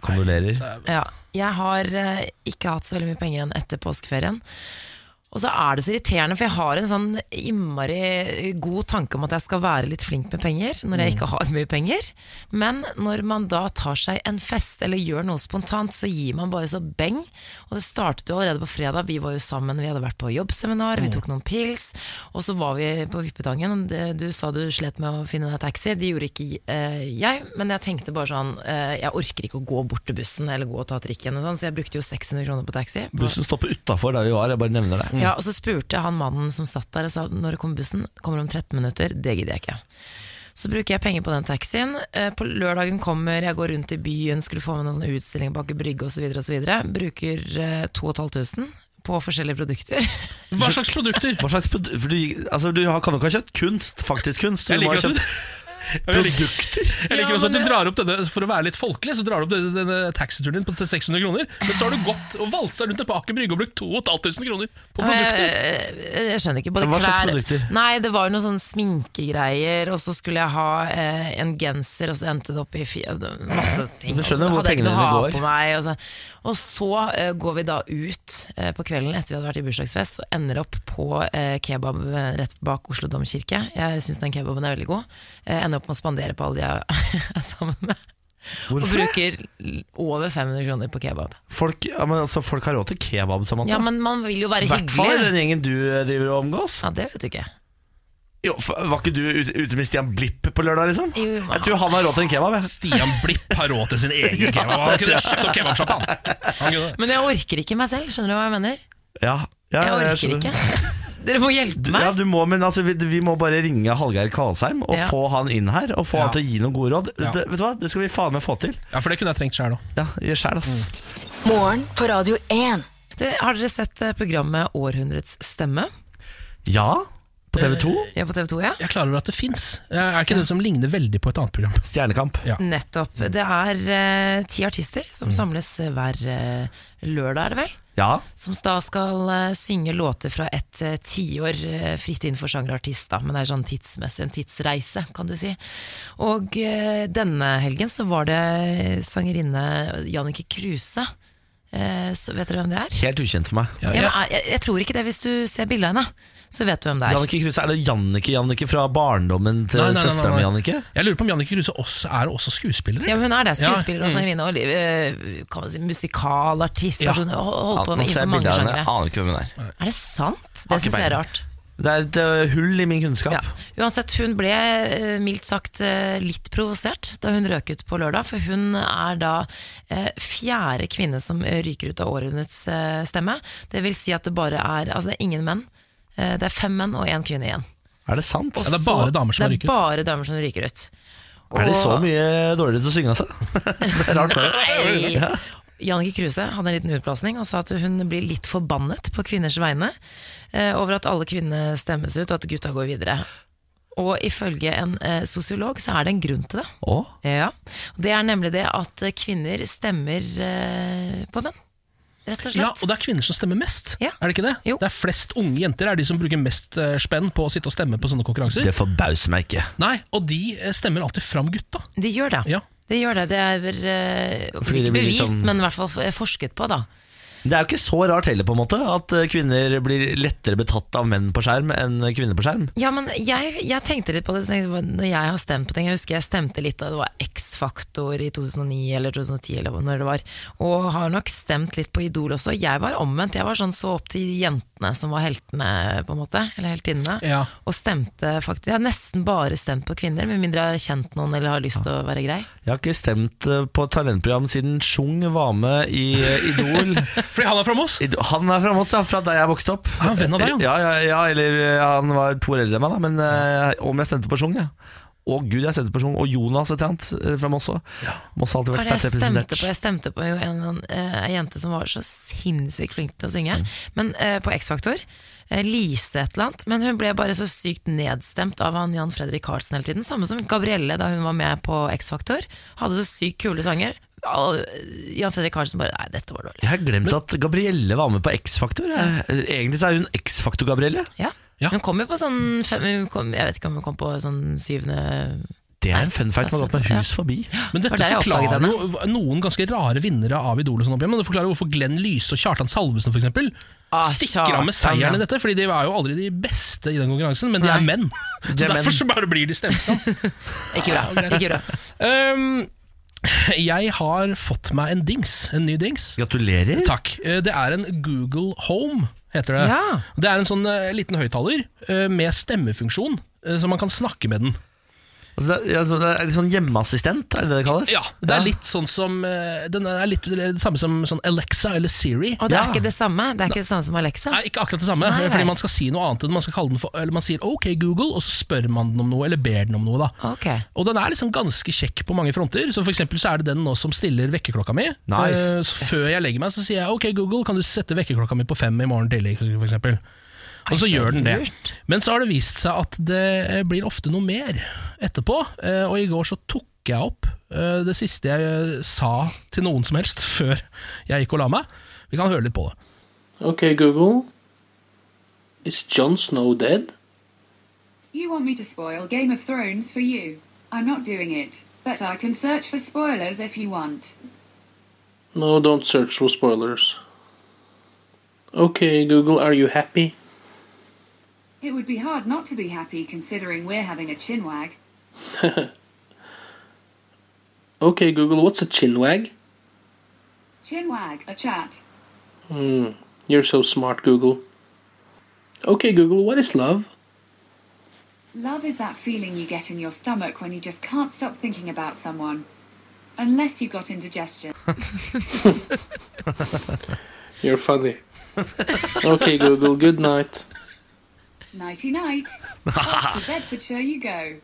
Kondolerer. Ja, jeg har eh, ikke hatt så veldig mye penger igjen etter påskeferien. Og så er det så irriterende, for jeg har en sånn innmari god tanke om at jeg skal være litt flink med penger, når jeg ikke har mye penger. Men når man da tar seg en fest eller gjør noe spontant, så gir man bare så beng. Og det startet jo allerede på fredag, vi var jo sammen, vi hadde vært på jobbseminar, vi tok noen pils. Og så var vi på Vippetangen, Det- du sa du slet med å finne deg taxi, det gjorde ikke eh, jeg. Men jeg tenkte bare sånn, eh, jeg orker ikke å gå bort til bussen eller gå og ta trikken og sånn, så jeg brukte jo 600 kroner på taxi. Bussen stopper utafor der vi var, jeg bare nevner det. Ja, og så spurte jeg han mannen som satt der og sa når det kommer bussen, kommer om 13 minutter, det gidder jeg ikke. Så bruker jeg penger på den taxien. Eh, På lørdagen kommer, jeg går rundt i byen, skulle få med noen sånne utstillinger bak i brygge osv. osv. Bruker eh, 2500 på forskjellige produkter. Hva slags produkter? Hva slags produ- for du, gikk- altså, du har- kan jo ikke ha kjøpt kunst, faktisk kunst. Du Jeg må liker ha at du kjøpt Jeg liker- produkter. jeg liker Ja, også at men du drar opp denne For å være litt folkelig Så drar du opp denne, denne taxituren din på- til 600 kroner Men så har du gått og valsa rundt ned på Aker Brygge Og brukt 2500 kroner på Eh. produkter Jeg, eh, jeg skjønner ikke. Både Hva slags klær- produkter? Nei, det var jo noen sånne sminkegreier, og så skulle jeg ha eh, en genser, og så endte det opp i fi, altså, masse ting. Du og så skjønner hvor hadde jeg ikke pengene noe å ha dine går. På meg, og så, og så eh, går vi da ut eh, på kvelden etter vi hadde vært i bursdagsfest, og ender opp på eh, kebab rett bak Oslo domkirke. Jeg syns den kebaben er veldig god. Eh, ender opp med å spandere på alle de jeg er sammen med. Og Hvorfor? det? bruker l- over 500 kroner på kebab. Folk, ja, men, altså, folk har råd til kebab, Samantha. Ja, men man vil jo være I hvert fall i hyggelig. den gjengen du eh, driver og omgås. Ja, det vet du ikke. Jo, for, var ikke du ute, ute med Stian Blipp på lørdag, liksom? Jo, men jeg tror han har råd til en kebab. Jeg. Stian Blipp har råd til sin egen kebab Han kunne kjøpt opp kebabsjappa Men jeg orker ikke meg selv, skjønner du hva jeg mener? Ja, ja, Jeg orker skjønner. ikke. Dere må hjelpe Du, ja, meg. du må, men altså, vi, vi må bare ringe Hallgeir Kvalsheim og Ja. få han inn her. Og få Ja. han til å gi noen gode råd. Ja. Det, vet du hva, det skal vi faen meg få til. Ja, for det kunne jeg trengt selv også Ja, Gjør sjæl, ass. Mm. Morgen på Radio 1. Du, har dere sett eh, programmet Århundrets stemme? Ja, på TV 2. Eh, Ja, på TV 2, ja? Jeg er klar over at det finnes Eh, Er ikke det som ligner veldig på et annet program Stjernekamp. Ja. Nettopp. Det er eh, ti artister Mm. som samles eh, hver eh, lørdag, er det vel? Ja, Som da skal eh, synge låter fra et eh, tiår eh, fritt innenfor sjangerartist, da, men det er sånn tidsmessig, en tidsreise, kan du si. Og eh, denne helgen så var det eh, sangerinne Jannicke Kruse. Eh, så vet dere hvem det er? Helt ukjent for meg. Ja, Ja, ja. men, jeg, jeg, jeg tror ikke det hvis du ser bildet av henne. Så vet du hvem det er. Jannicke Kruse, er det Jannicke Jannicke fra barndommen til Nei, nei, nei, nei, søsteren nei. min, Jannicke? Jeg lurer på om Jannicke Kruse også, er også skuespiller Ja, men Hun er det. Ja, Skuespiller og sangerinne og eh, kan man si, musikalartist. Ja. Altså, hun hol- Ja, holder på nå ser med jeg innenfor mange bildet av henne, sjangere. aner ikke hvem hun er. Er det sant? Det syns jeg er rart. Det er et ø, hull i min kunnskap. Ja. Uansett, hun ble eh, mildt sagt eh, litt provosert da hun røk ut på lørdag, for hun er da eh, fjerde kvinne som eh, ryker ut av århundrets eh, stemme. Det vil si at det bare er Altså, det er ingen menn. Eh, Det er fem menn og én kvinne igjen. Er det sant? det er bare damer som det ryker er ut. bare damer som ryker ut. Er de så Og- mye dårligere til å synge, altså? Det er rart med det. Nei! Ja. Jannicke Kruse hadde en liten utblåsning og sa at hun blir litt forbannet på kvinners vegne eh, over at alle kvinner stemmes ut, og at gutta går videre. Og ifølge en eh, sosiolog så er det en grunn til det. Å, Ja, Det er nemlig det at eh, kvinner stemmer eh, på menn, rett og Ja, slett. og det er kvinner som stemmer mest Ja. Er det ikke det? Jo. Det er flest unge jenter Er de som bruker mest eh, spenn på å sitte og stemme på sånne konkurranser det forbauser meg ikke. Nei, og de eh, stemmer alltid fram gutta De gjør det. Ja. Det gjør det. Det er eh, det ikke blir litt bevist, sånn- men i hvert fall f- forsket på, da. Det er jo ikke så rart heller, på en måte, at eh, kvinner blir lettere betatt av menn på skjerm enn kvinner på skjerm. Ja, men jeg, jeg tenkte litt på det så tenkte jeg bare, Når jeg har stemt på ting Jeg husker jeg stemte litt da det var X-faktor i 2009 eller 2010 eller hva- når det var Og har nok stemt litt på Idol også Jeg var omvendt, jeg var sånn så opp til jentene som var heltene på en måte Eller heltinnene Ja. Og stemte faktisk, jeg har nesten bare stemt på kvinner Med mindre jeg har kjent noen eller har lyst til å være grei Jeg har ikke stemt eh, på talentprogram siden Chung var med i eh, Idol. Fordi han er fra Moss! Idol- Han er fra Moss, ja, fra der jeg vokste opp. Er han venn av deg, han? Ja, ja, ja eller eh, han var to år eldre enn meg, da. Men eh, om jeg stemte på Sjung, ja. Å gud, jeg stemte på Sjung. Og Jonas et eller annet eh, fra Moss òg. Moss har alltid Hva vært er det sterkt Altså, jeg stemte representert. på? Jeg stemte på jo en, en, eh, ei jente som var så sinnssykt flink til å synge, Mm. men eh, på X-Faktor. eh, Lise et eller annet, men hun ble bare så sykt nedstemt av han Jan Fredrik Karlsen hele tiden. Samme som Gabrielle da hun var med på X-Faktor. Hadde så sykt kule sanger. Al- Jan Fredrik Karlsen bare Nei, dette var dårlig. Jeg har glemt at Gabrielle var med på X-Faktor. jeg. Egentlig så er hun X-Faktor, Gabrielle. Ja. Ja. Hun kom jo på sånn fem, hun kom, Jeg vet ikke om hun kom på sånn syvende Det er en fun fact som har gått meg hus forbi. Men dette Var der jeg oppdaget forklarer jo noen ganske rare vinnere av Idol. og sånn opp igjen, Men det forklarer hvorfor Glenn Lyse og Kjartan Salvesen for eksempel, Ah, stikker av med Kjartan, ja. seieren i dette. Fordi de er jo aldri de beste i den konkurransen, men de Nei. er menn. Så De er menn. derfor så bare blir de stemt om. Ikke bra. Ikke bra. Ehm, jeg har fått meg en dings. En ny dings. Gratulerer. Takk. Eh, Det er en Google Home, heter det. Ja. Det er en sånn eh, liten høyttaler eh, med stemmefunksjon, eh, så man kan snakke med den. Altså, det, er, ja, så det er litt sånn hjemmeassistent, er det det det kalles? Ja, Det er litt sånn som eh, Den er litt det er det samme som sånn Alexa eller Siri. Og det er Ja. ikke det samme. Det er ikke det samme som Alexa. Nei, ikke akkurat det samme, Nei, nei. fordi man skal si noe annet enn man skal kalle den for Eller man sier 'OK, Google', og så spør man den om noe, eller ber den om noe, da. Ok. Og den er liksom ganske kjekk på mange fronter. Så for eksempel så er det den nå som stiller vekkerklokka mi. Nice. Eh, Så før jeg legger meg, så sier jeg OK, Google, kan du sette vekkerklokka mi på fem i morgen tidlig? For eksempel. og så så gjør den det. lurt. Men så har det vist seg at det eh, blir ofte noe mer etterpå. eh, Og i går så tok jeg opp eh, det siste jeg eh, sa til noen som helst før jeg gikk og la meg. Vi kan høre litt på det. Okay, Google. Is Jon Snow dead? You want me to spoil Game of Thrones for you? I'm not doing it, but I can search for spoilers if you want. No, don't search for spoilers. Okay, Google, are you happy? It would be hard not to be happy considering we're having a chinwag. Okay, Google, what's a chinwag? Chinwag, a chat. Hmm, you're so smart, Google. Okay, Google, what is love? Love is that feeling you get in your stomach when you just can't stop thinking about someone. Unless you got indigestion. You're funny. okay, Google, good night. Nighty night. Off to Bedfordshire you go.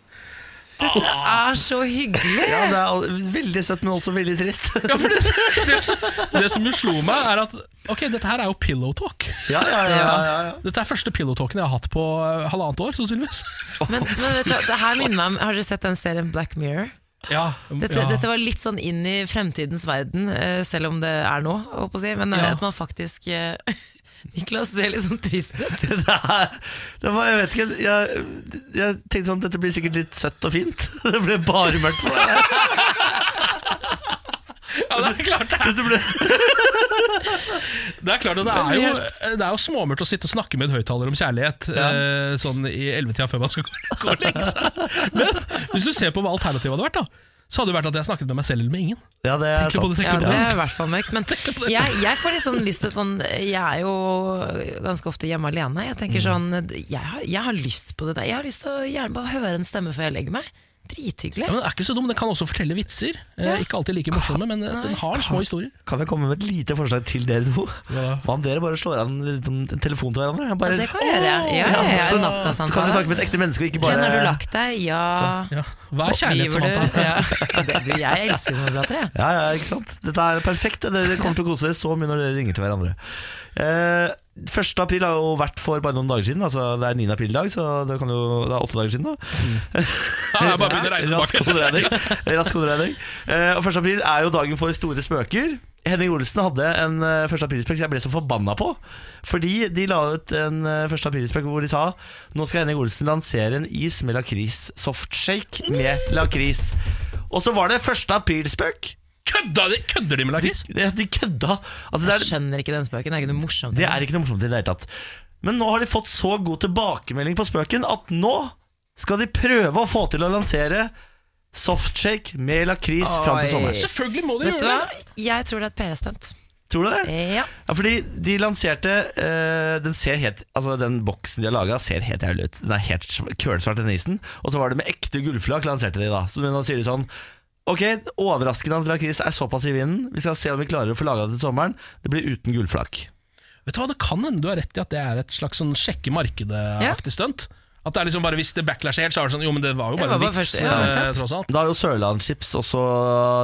Er Ah, så hyggelig! Ja, det er al- veldig søtt, men også veldig trist. Ja, for det, det, som- det som jo slo meg, er at Ok, dette her er jo pillow talk. ja, ja, ja, ja, ja. Dette er første pillow talken jeg har hatt på eh, halvannet år, sannsynligvis. Men, men vet du, hva, det her minner meg om Har dere sett den serien Black Mirror? Ja, Dette, ja. dette var litt sånn inn i fremtidens verden, eh, selv om det er nå, holdt på å si. Men eh, Ja. at man faktisk eh, Niklas ser litt sånn trist ut. Det er, det var, jeg vet ikke jeg, jeg tenkte sånn, dette blir sikkert litt søtt og fint Det ble bare mørkt for deg Ja, det er klart det er. Dette ble, Det er klart, og det er jo, det er jo småmurt å sitte og snakke med en høyttaler om kjærlighet eh, sånn i ellevetida før man skal gå, gå og legge seg. Men hvis du ser på hva alternativet hadde vært, da så hadde det vært at jeg snakket med meg selv eller med ingen. Ja, det er Tenk på det, sant tenk på Ja, det Ja. er i hvert fall mørkt. Men jeg, jeg får litt sånn lyst til sånn Jeg er jo ganske ofte hjemme alene. Jeg tenker sånn Jeg har, jeg har lyst på det der. Jeg har lyst til å gjerne bare høre en stemme før jeg legger meg. Drithyggelig. Ja, men Den er ikke så dum, den kan også fortelle vitser. Eh, Ikke alltid like morsomme, men eh, den har små historier. Kan jeg komme med et lite forslag til dere to? da? Hva om dere bare slår an sånn en liten telefon til hverandre? Bare, Ja, det kan jeg gjøre, ja. Åh! Ja, ja, ja, så nattasamtale. kan dere snakke med et ekte menneske og ikke bare Ken, har du lagt deg? Ja. Ja. Hva er kjærlighet som Driver annet? du? Ja. Ja, det- du, Jeg elsker sånne plater, jeg. Ja, ja, ikke sant? Dette er perfekt. Dere kommer til å kose dere så mye når dere ringer til hverandre. Eh, 1. april har jo vært for bare noen dager siden. Altså, det er 9. april-dag, så det, kan jo, det er åtte dager siden. da Ja, jeg bare begynner å regne Rask tilbake. hoderegning. Rask hoderegning. Eh, og 1. april er jo dagen for store spøker. Henning Olsen hadde en eh, 1. april-spøk som jeg ble så forbanna på. Fordi de la ut en eh, 1. april-spøk hvor de sa nå skal Henning Olsen lansere en is med lakris softshake med lakris. Og så var det 1. april-spøk Kødda de, kødder de med lakris? De, de kødda! Altså, det, Jeg er, skjønner ikke den spøken. Det er ikke noe morsomt. det er ikke noe morsomt i det hele tatt. Men nå har de fått så god tilbakemelding på spøken at nå skal de prøve å få til å lansere softshake med lakris fram til Oi. sommeren. Selvfølgelig må de Vet du gjøre hva? det! Jeg tror det er et PR-stunt. Tror du det? Ja. Ja, fordi de lanserte eh, Den ser helt Altså den boksen de har laget Ser helt jævlig ut Den er helt sv- kølsvart den isen Og så var det med ekte gullflak Lanserte de da Så nå sier de sånn Ok, overraskende at lakris er såpass i vinden Vi skal se om vi klarer å få laget det til sommeren Det blir uten gullflak Vet du hva, Det kan hende du har rett i at det er et slags sånn sjekke markedet-aktig stunt. At det er liksom bare Hvis det backlasher helt, så er det sånn Jo, men det var jo Det bare en var bare vits, første- ja, eh, nettopp. tross alt. Da har jo Sørlandschips også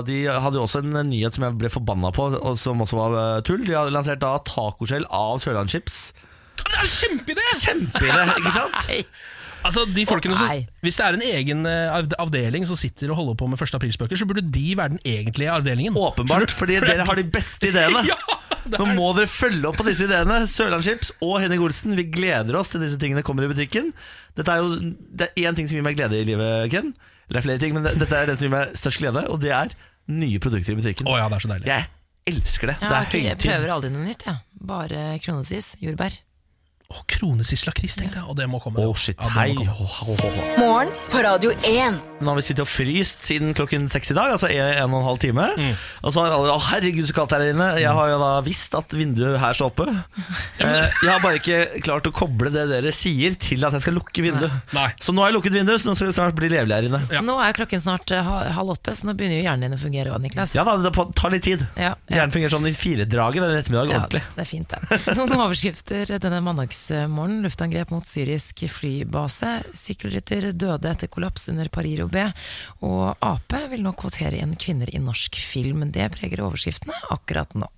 De hadde jo også en nyhet som jeg ble forbanna på og Som også var eh, tull De hadde lansert da tacoskjell av Sørlandschips Det er jo en kjempeidé! Kjempeidé, ikke sant? Altså, de folkene som, Nei. hvis det er en egen eh, avd- avdeling som sitter og holder på med 1. aprilspøker, så burde de være den egentlige avdelingen. Åpenbart, fordi dere har de beste ideene Ja, det Nå må dere følge opp på disse ideene. Sørlandschips og Henning Olsen, vi gleder oss til disse tingene kommer i butikken. Dette er jo det er én ting som gir meg glede i livet, Ken. Eller det er flere ting, men det, dette er den som gir meg størst glede, og det er nye produkter i butikken. Å ja, det er så deilig. Jeg elsker det. Ja, det ok, er jeg høytid. prøver aldri noe nytt, jeg. Bare kronesis, jordbær. Å, Kronesis lakris, tenkte jeg, og det må komme. Å, det. shit. Ja, det må Hei. komme. Ho, ho, ho, ho. Morgen på Radio 1. Nå har vi sittet og fryst siden klokken seks i dag, altså en en og en halv time. Mm. Og så har alle Å, herregud, så kaldt det er her inne. Jeg har jo da visst at vinduet her står oppe. Eh, Jeg har bare ikke klart å koble det dere sier, til at jeg skal lukke vinduet. Nei. Så nå har jeg lukket vinduet, så nå skal det snart bli levelig her inne. Ja. Nå er klokken snart eh, ha- halv åtte, så nå begynner jo hjernen din å fungere òg, Niklas. Ja da, det tar litt tid. Ja, ja. Hjernen fungerer sånn i firedraget denne ettermiddag, Ja, ordentlig. det er fint, det. Noen overskrifter denne mandagsmorgenen. Luftangrep mot syrisk flybase. Sykkelrytter døde etter kollaps under Pariro B. Og Ap vil nå kvotere inn kvinner i norsk film. Det preger overskriftene akkurat nå.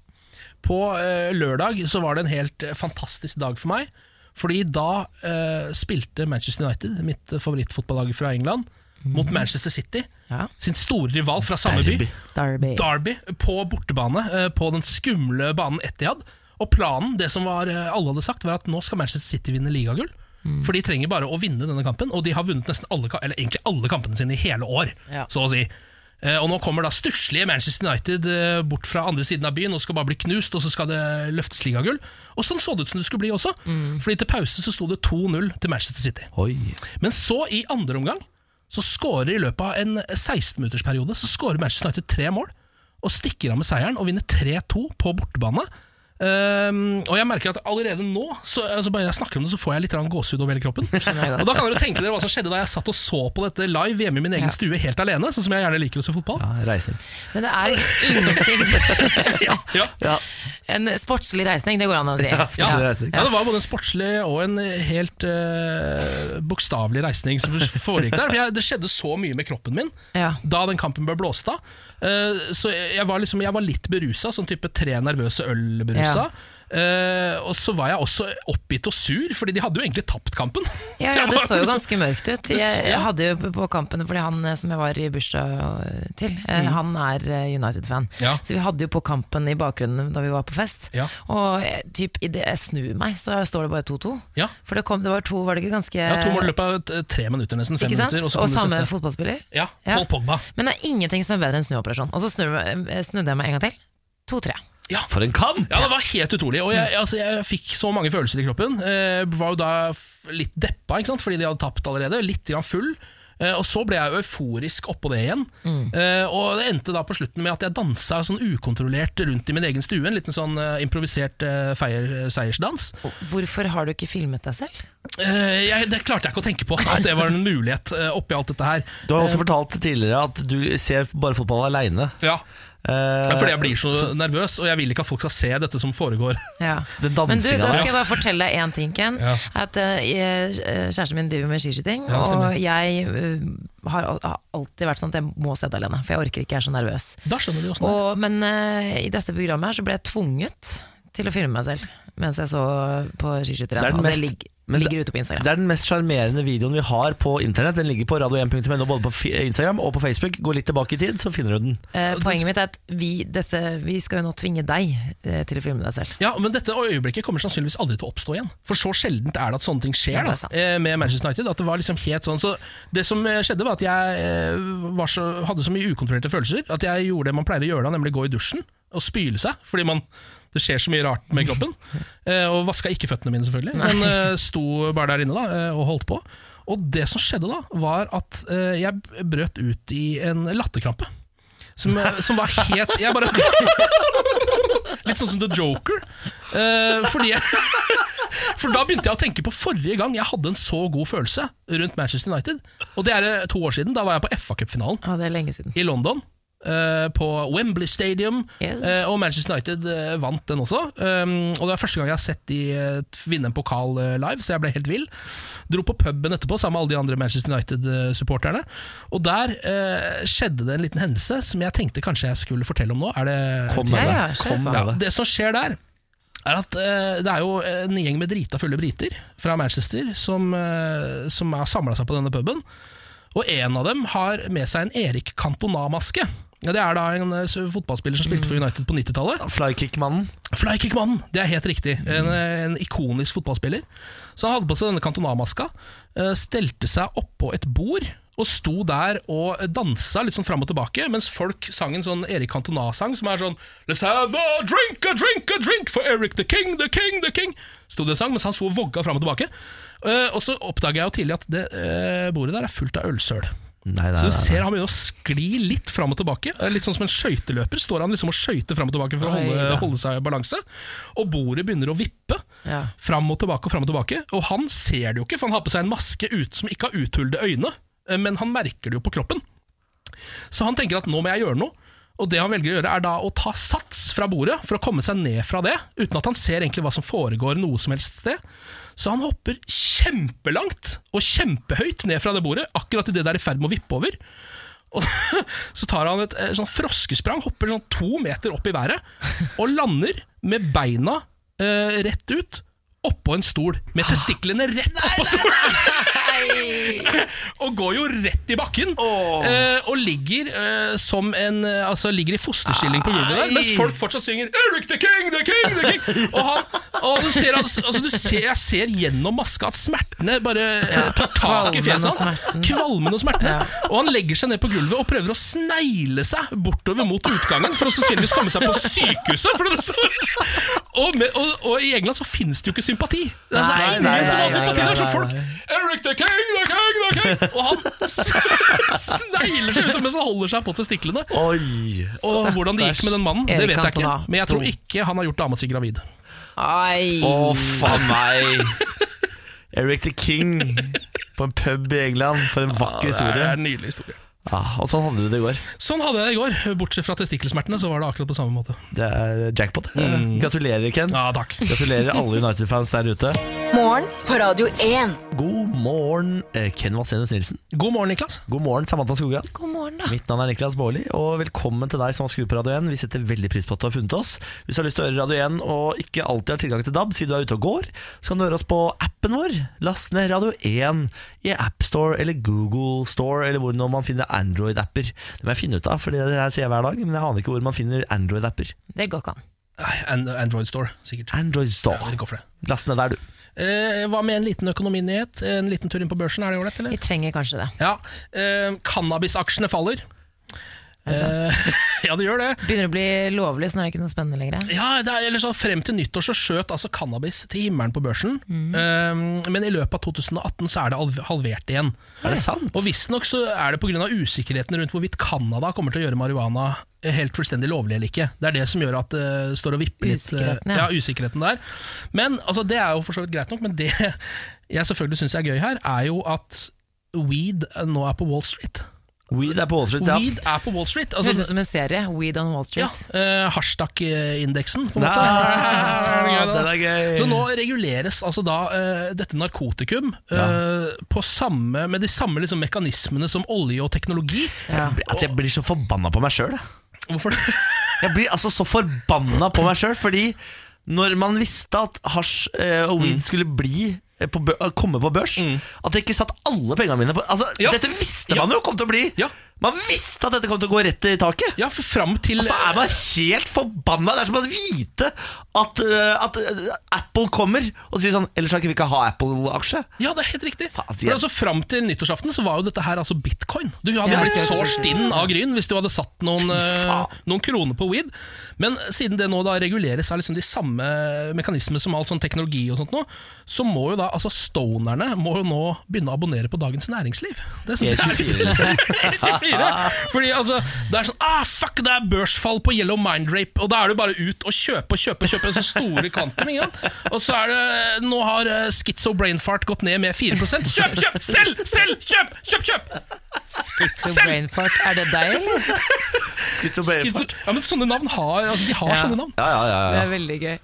På eh, lørdag så var det en helt eh, fantastisk dag for meg. Fordi da eh, spilte Manchester United, mitt eh, favorittfotballag fra England, mot Manchester City, Ja. sin store rival fra samme by. Derby. Derby på bortebane eh, på den skumle banen Etihad. Og planen, det som var, eh, alle hadde sagt, var at nå skal Manchester City vinne ligagull. For de trenger bare å vinne denne kampen, og de har vunnet nesten alle, ka- eller egentlig alle kampene sine i hele år. Ja. Så å si. Eh, Og nå kommer da stusslige Manchester United eh, bort fra andre siden av byen og skal bare bli knust, og så skal det løftes ligagull. Og sånn så det ut som det skulle bli også, Fordi til pause så sto det 2-0 til Manchester City. Oi. Men så, i andre omgang, så skårer i løpet av en 16-minuttersperiode Så skårer Manchester United tre mål og stikker av med seieren og vinner 3-2 på bortebane. Ehm, og jeg merker at allerede nå, så, altså bare jeg snakker om det, så får jeg litt grann gåsehud over hele kroppen. og Da kan dere tenke dere hva som skjedde da jeg satt og så på dette live hjemme i min egen stue helt alene, sånn som jeg gjerne liker å se fotball. Ja, reisning. Men det er ingenting Ja, ja. Ja, En sportslig reisning, det går an å si. ja, Ja. kanskje reisning. ja, Det var både en sportslig og en helt eh, bokstavelig reisning som foregikk der. For jeg, Det skjedde så mye med kroppen min Ja. da den kampen ble blåst av. Eh, så jeg var, liksom, jeg var litt berusa, sånn type tre nervøse øl-berusa. Eh, og så var jeg også oppgitt og sur, fordi de hadde jo egentlig tapt kampen. Så Ja, ja, jeg det var så jo liksom- ganske mørkt ut. Det s- Jeg, jeg ja. hadde jo på- på kampen, fordi han eh, som jeg var i bursdag eh, til, eh, han er eh, United-fan. Mm. Ja. Så vi hadde jo på kampen i bakgrunnen da vi var på fest. Ja. Og eh, typ, idet jeg snur meg, så står det bare 2-2. Ja. For det, kom, det var to, var det ikke ganske ja, To mål i løpet av t- tre minutter, nesten. Fem eh, Ikke sant? minutter. Og, kom det samme siste. fotballspiller. Ja, Paul Pogba. Men det er ingenting som er bedre enn snuoperasjon. Og så snur, eh, snudde jeg meg en gang til. 2-3. Ja. For en kamp! Ja, det var helt utrolig. Og jeg, altså, jeg fikk så mange følelser i kroppen. Eh, var jo da f- litt deppa, ikke sant? fordi de hadde tapt allerede. Litt grann full. Eh, og så ble jeg euforisk oppå det igjen. Eh, og det endte da på slutten med at jeg dansa sånn ukontrollert rundt i min egen stue. En liten sånn eh, improvisert eh, feier, seiersdans. Hvorfor har du ikke filmet deg selv? Eh, jeg, det klarte jeg ikke å tenke på at det var en mulighet eh, oppi alt dette her. Du har også fortalt tidligere at du ser bare fotball aleine. Ja, Eh, Fordi jeg blir så nervøs, og jeg vil ikke at folk skal se dette som foregår. Ja. Den dansinga Men du, da der. skal jeg bare fortelle deg én ting, Ken. Ja. At eh, jeg- eh, Kjæresten min driver med skiskyting, Ja, det stemmer. og jeg eh, har al- har alltid vært sånn at jeg må se det alene, for jeg orker ikke, jeg er så nervøs. Da skjønner du åssen det er. Og, men eh, i dette programmet her så ble jeg tvunget til å filme meg selv mens jeg så på det er skiskytteren. den og mest, ligger- Men ligger ute på Instagram. Det er den mest sjarmerende videoen vi har på internett. Den ligger på radio1.no både på fi- Instagram og på Facebook. Gå litt tilbake i tid, så finner du den. Eh, poenget mitt er at vi, dette, vi skal jo nå tvinge deg eh, til å filme deg selv. Ja, men dette øyeblikket kommer sannsynligvis aldri til å oppstå igjen. For så sjeldent er det at sånne ting Ja, skjer det er da, sant. eh, med Manchester United. At Det var liksom helt sånn Så det som eh, skjedde, var at jeg eh, var så, hadde så mye ukontrollerte følelser at jeg gjorde det man pleier å gjøre da, nemlig gå i dusjen og spyle seg. Fordi man det skjer så mye rart med kroppen. Eh, og vaska ikke føttene mine, selvfølgelig, men eh, sto bare der inne da eh, og holdt på. Og det som skjedde da, var at eh, jeg brøt ut i en latterkrampe. Som, eh, som var helt Jeg bare Litt sånn som The Joker. Eh, fordi jeg, for da begynte jeg å tenke på forrige gang jeg hadde en så god følelse rundt Manchester United. Og det er eh, to år siden. Da var jeg på FA-cupfinalen Ja, det er lenge siden. i London. eh, på Wembley Stadium. Yes. eh, og Manchester United eh, vant den også. Um, og Det er første gang jeg har sett de eh, vinne en pokal eh, live, så jeg ble helt vill. Dro på puben etterpå sammen med alle de andre Manchester United-supporterne. Og der eh, skjedde det en liten hendelse som jeg tenkte kanskje jeg skulle fortelle om nå. Er det Kom Ja, med ja, det. skjer Kom bare. med ja, det. det som skjer der, er at eh, det er jo en gjeng med drita fulle briter fra Manchester som, eh, som har samla seg på denne puben. Og en av dem har med seg en Erik Cantona-maske. Ja, det er da en eh, fotballspiller som spilte for United på 90-tallet. Flykick-mannen. Flykick-mannen, det er helt riktig. En, en ikonisk fotballspiller. Så han hadde på seg denne kantonamaska, eh, stelte seg oppå et bord og sto der og dansa litt sånn fram og tilbake, mens folk sang en sånn Erik Cantona-sang som er sånn Let's have a drink, a drink, a drink for Eric the King, the King, the King. Sto det og sang, mens han sto og vogga fram og tilbake. Eh, og så oppdaga jeg jo tidlig at det eh, bordet der er fullt av ølsøl. Nei, nei, Så du nei. ser han begynner å skli litt fram og tilbake. Eh, Litt sånn som en skøyteløper. Står han liksom og skøyter fram og tilbake for å Oi, holde, da. holde seg i balanse. Og bordet begynner å vippe. Ja. Fram og tilbake og fram og tilbake. Og han ser det jo ikke, for han har på seg en maske ut, som ikke har uthullede øyne. eh, Men han merker det jo på kroppen. Så han tenker at nå må jeg gjøre noe. Og det han velger å gjøre, er da å ta sats fra bordet for å komme seg ned fra det, uten at han ser egentlig hva som foregår noe som helst sted. Så han hopper kjempelangt og kjempehøyt ned fra det bordet, akkurat idet det er i ferd med å vippe over. Og så tar han et eh, sånn froskesprang, hopper sånn to meter opp i været, og lander med beina eh, rett ut oppå en stol, med testiklene rett oppå stolen! og går jo rett i bakken, eh, og ligger eh, som en eh, Altså ligger i fosterstilling på gulvet der, mens folk fortsatt synger 'Eric the King, the King, the King'! Og, han, og du ser, han- altså, du ser, jeg ser gjennom maska at smertene bare eh, tar tak i Kvalmen og fjeset hans. smerten. Kvalmen og smertene. Og han legger seg ned på gulvet og prøver å snegle seg bortover mot utgangen for å sannsynligvis komme seg på sykehuset. For det, så, og, med, og, og i England så finnes det jo ikke sympati. Det er altså Nei, ingen nei, som nei, har sympati nei, der, så nei, folk Eric the King, the King, the King! Og han snegler seg utover mens han holder seg på testiklene. Oi! Og hvordan det gikk med den mannen, det Erik vet jeg ikke. Cantona. Men jeg tror ikke han har gjort dama si gravid. Ai. Å, faen meg! Eric the King på en pub i England. For en vakker Det historie. er en nydelig historie. Ja, og sånn hadde du det i går. Sånn hadde jeg det i går. Bortsett fra testikkelsmertene, så var det akkurat på samme måte. Det er jackpot. Gratulerer, Ken. Ja, takk. Gratulerer alle United-fans der ute. Morgen på Radio 1. God morgen, eh, Ken Vasenus Nilsen. God morgen, Niklas. God morgen, Samantha Skogran. God morgen, da. Mitt navn er Niklas Baarli, og velkommen til deg som har skrudd på Radio 1. Vi setter veldig pris på at du har funnet oss. Hvis du har lyst til å høre Radio 1 og ikke alltid har tilgang til DAB, siden du er ute og går, så kan du høre oss på appen vår. Last ned Radio 1 i AppStore eller Google Store, eller hvor nå man finner Android-apper. Det må jeg finne ut av, for det her sier jeg hver dag, men jeg aner ikke hvor man finner Android-apper. Det går ikke an. Nei, And Android Store, sikkert. Android Ja, dere Store. går for det. Last ned der, du. Eh, hva med en liten økonominyhet? Eh, En liten tur inn på børsen, er det ålreit, eller? Vi trenger kanskje det. Ja. Eh, cannabisaksjene faller. Eh, ja, det gjør det. Begynner å bli lovlig, så nå er det ikke noe spennende lenger. Ja, det er, eller så Frem til nyttår så skjøt altså cannabis til himmelen på børsen. Eh, men i løpet av 2018 så er det alv- halvert igjen. Er det sant? Og Visstnok så er det pga. usikkerheten rundt hvorvidt Canada kommer til å gjøre marihuana helt fullstendig lovlig eller ikke. Det er det som gjør at det står og vipper litt. eh, Usikkerheten, ja. ja. usikkerheten der. Men altså, Det er jo for så vidt greit nok, men det jeg selvfølgelig syns er gøy her, er jo at weed nå er på Wall Street. Weed er på Wall Street, ja. Weed er på Wall Street. Det høres ut Altså, som en serie. Weed on Wall ja, Street. eh, Hashtag-indeksen, på en måte. Nei, Er det gøy, da? den er gøy. Så nå reguleres altså da eh, dette narkotikum eh, på samme, med de samme liksom, mekanismene som olje og teknologi. Ja. Altså, jeg blir så forbanna på meg sjøl. jeg. Hvorfor det? Jeg blir altså så forbanna på meg sjøl, fordi når man visste at hasj eh, og weed skulle bli eh, på bør, å komme på børs. At jeg ikke satt alle pengene mine på altså, Ja. Dette visste Ja. man jo kom til å bli! Ja. Man visste at dette kom til å gå rett i taket! Ja, for fram til Og så er man helt forbanna! Det er som å vite at, eh, at eh, Apple kommer og sier sånn Ellers kan ikke vi ikke ha Apple-aksje. Ja, det er helt riktig. Faen, Men altså Fram til nyttårsaften så var jo dette her altså bitcoin. Du hadde Ja, blitt ja, ja, så ja, ja. stinn av gryn hvis du hadde satt noen, Fy faen. eh, noen kroner på weed. Men siden det nå da reguleres av liksom de samme mekanismene som all sånn teknologi, og sånt nå, så må jo da altså stonerne må jo nå begynne å abonnere på Dagens Næringsliv. Det synes jeg er litt- 24. Fordi altså, det er sånn ah, Fuck, det er børsfall på Yellow Mind Rape, og da er du bare ut og kjøpe og kjøpe og kjøpe så store kvantum. ikke sant? Og så er det Nå har eh, schizo brain fart gått ned med 4 Kjøp, kjøp! Selg, selg! Kjøp, kjøp! kjøp Schizo brainfart, er det deg, eller? Skritt og Schizo, ja, men Sånne navn har altså, De har Ja. sånne navn. Ja, ja, ja, Det ja. er veldig gøy.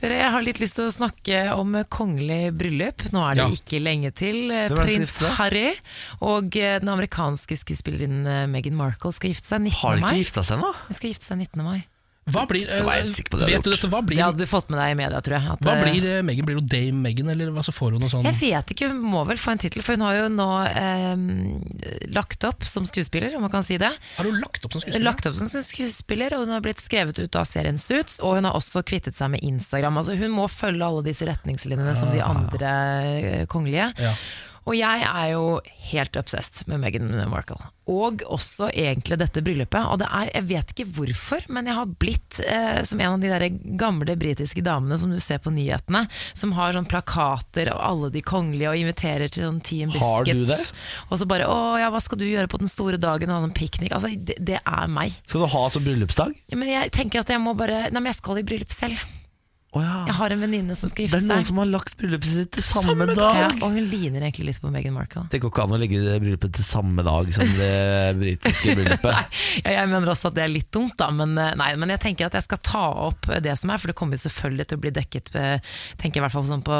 Dere, Jeg har litt lyst til å snakke om eh, kongelig bryllup. Nå er det Ja. ikke lenge til. Hvem er Eh, det som Prins gifter seg? Harry og eh, den amerikanske skuespillerinnen eh, Meghan Markle skal gifte seg 19. Har de mai. ikke gifta seg ennå? De skal gifte seg 19. mai. Hva blir eh, Det var jeg helt sikker på det jeg Vet du hadde dette? Hva blir, Det hadde du fått med deg i media, tror jeg. at, hva eh, blir eh, Meghan? Blir hun Dame Meghan, eller hva, så får hun noe sånn Jeg vet ikke, hun må vel få en tittel, for hun har jo nå eh, lagt opp som skuespiller, om man kan si det. Har hun lagt opp som skuespiller? Lagt opp som skuespiller, og hun har blitt skrevet ut av serien Suits, og hun har også kvittet seg med Instagram. Altså, hun må følge alle disse retningslinjene som de andre eh, kongelige. Ah. Ja. Og jeg er jo helt obsessed med Meghan Markle. Og også egentlig dette bryllupet. Og det er, jeg vet ikke hvorfor, men jeg har blitt eh, som en av de der gamle britiske damene som du ser på nyhetene, som har sånn plakater av alle de kongelige og inviterer til sånn Team Har du Biscuits. Og så bare 'Å ja, hva skal du gjøre på den store dagen?' og ha sånn piknik. Altså, det, det er meg. Skal du ha som bryllupsdag? Ja, Men jeg tenker at jeg må bare Nei, men jeg skal i bryllup selv. Å ja. Jeg har en venninne som skal Det gifte er noen seg. som har lagt bryllupet sitt til samme, dag. Ja, og hun ligner egentlig litt på Meghan Markle. Det går ikke an å legge det bryllupet til samme dag som det britiske bryllupet. Ja, jeg mener også at det er litt dumt, da, men, eh, nei, men jeg tenker at jeg skal ta opp eh, det som er, for det kommer jo selvfølgelig til å bli dekket eh, tenker jeg i hvert fall sånn på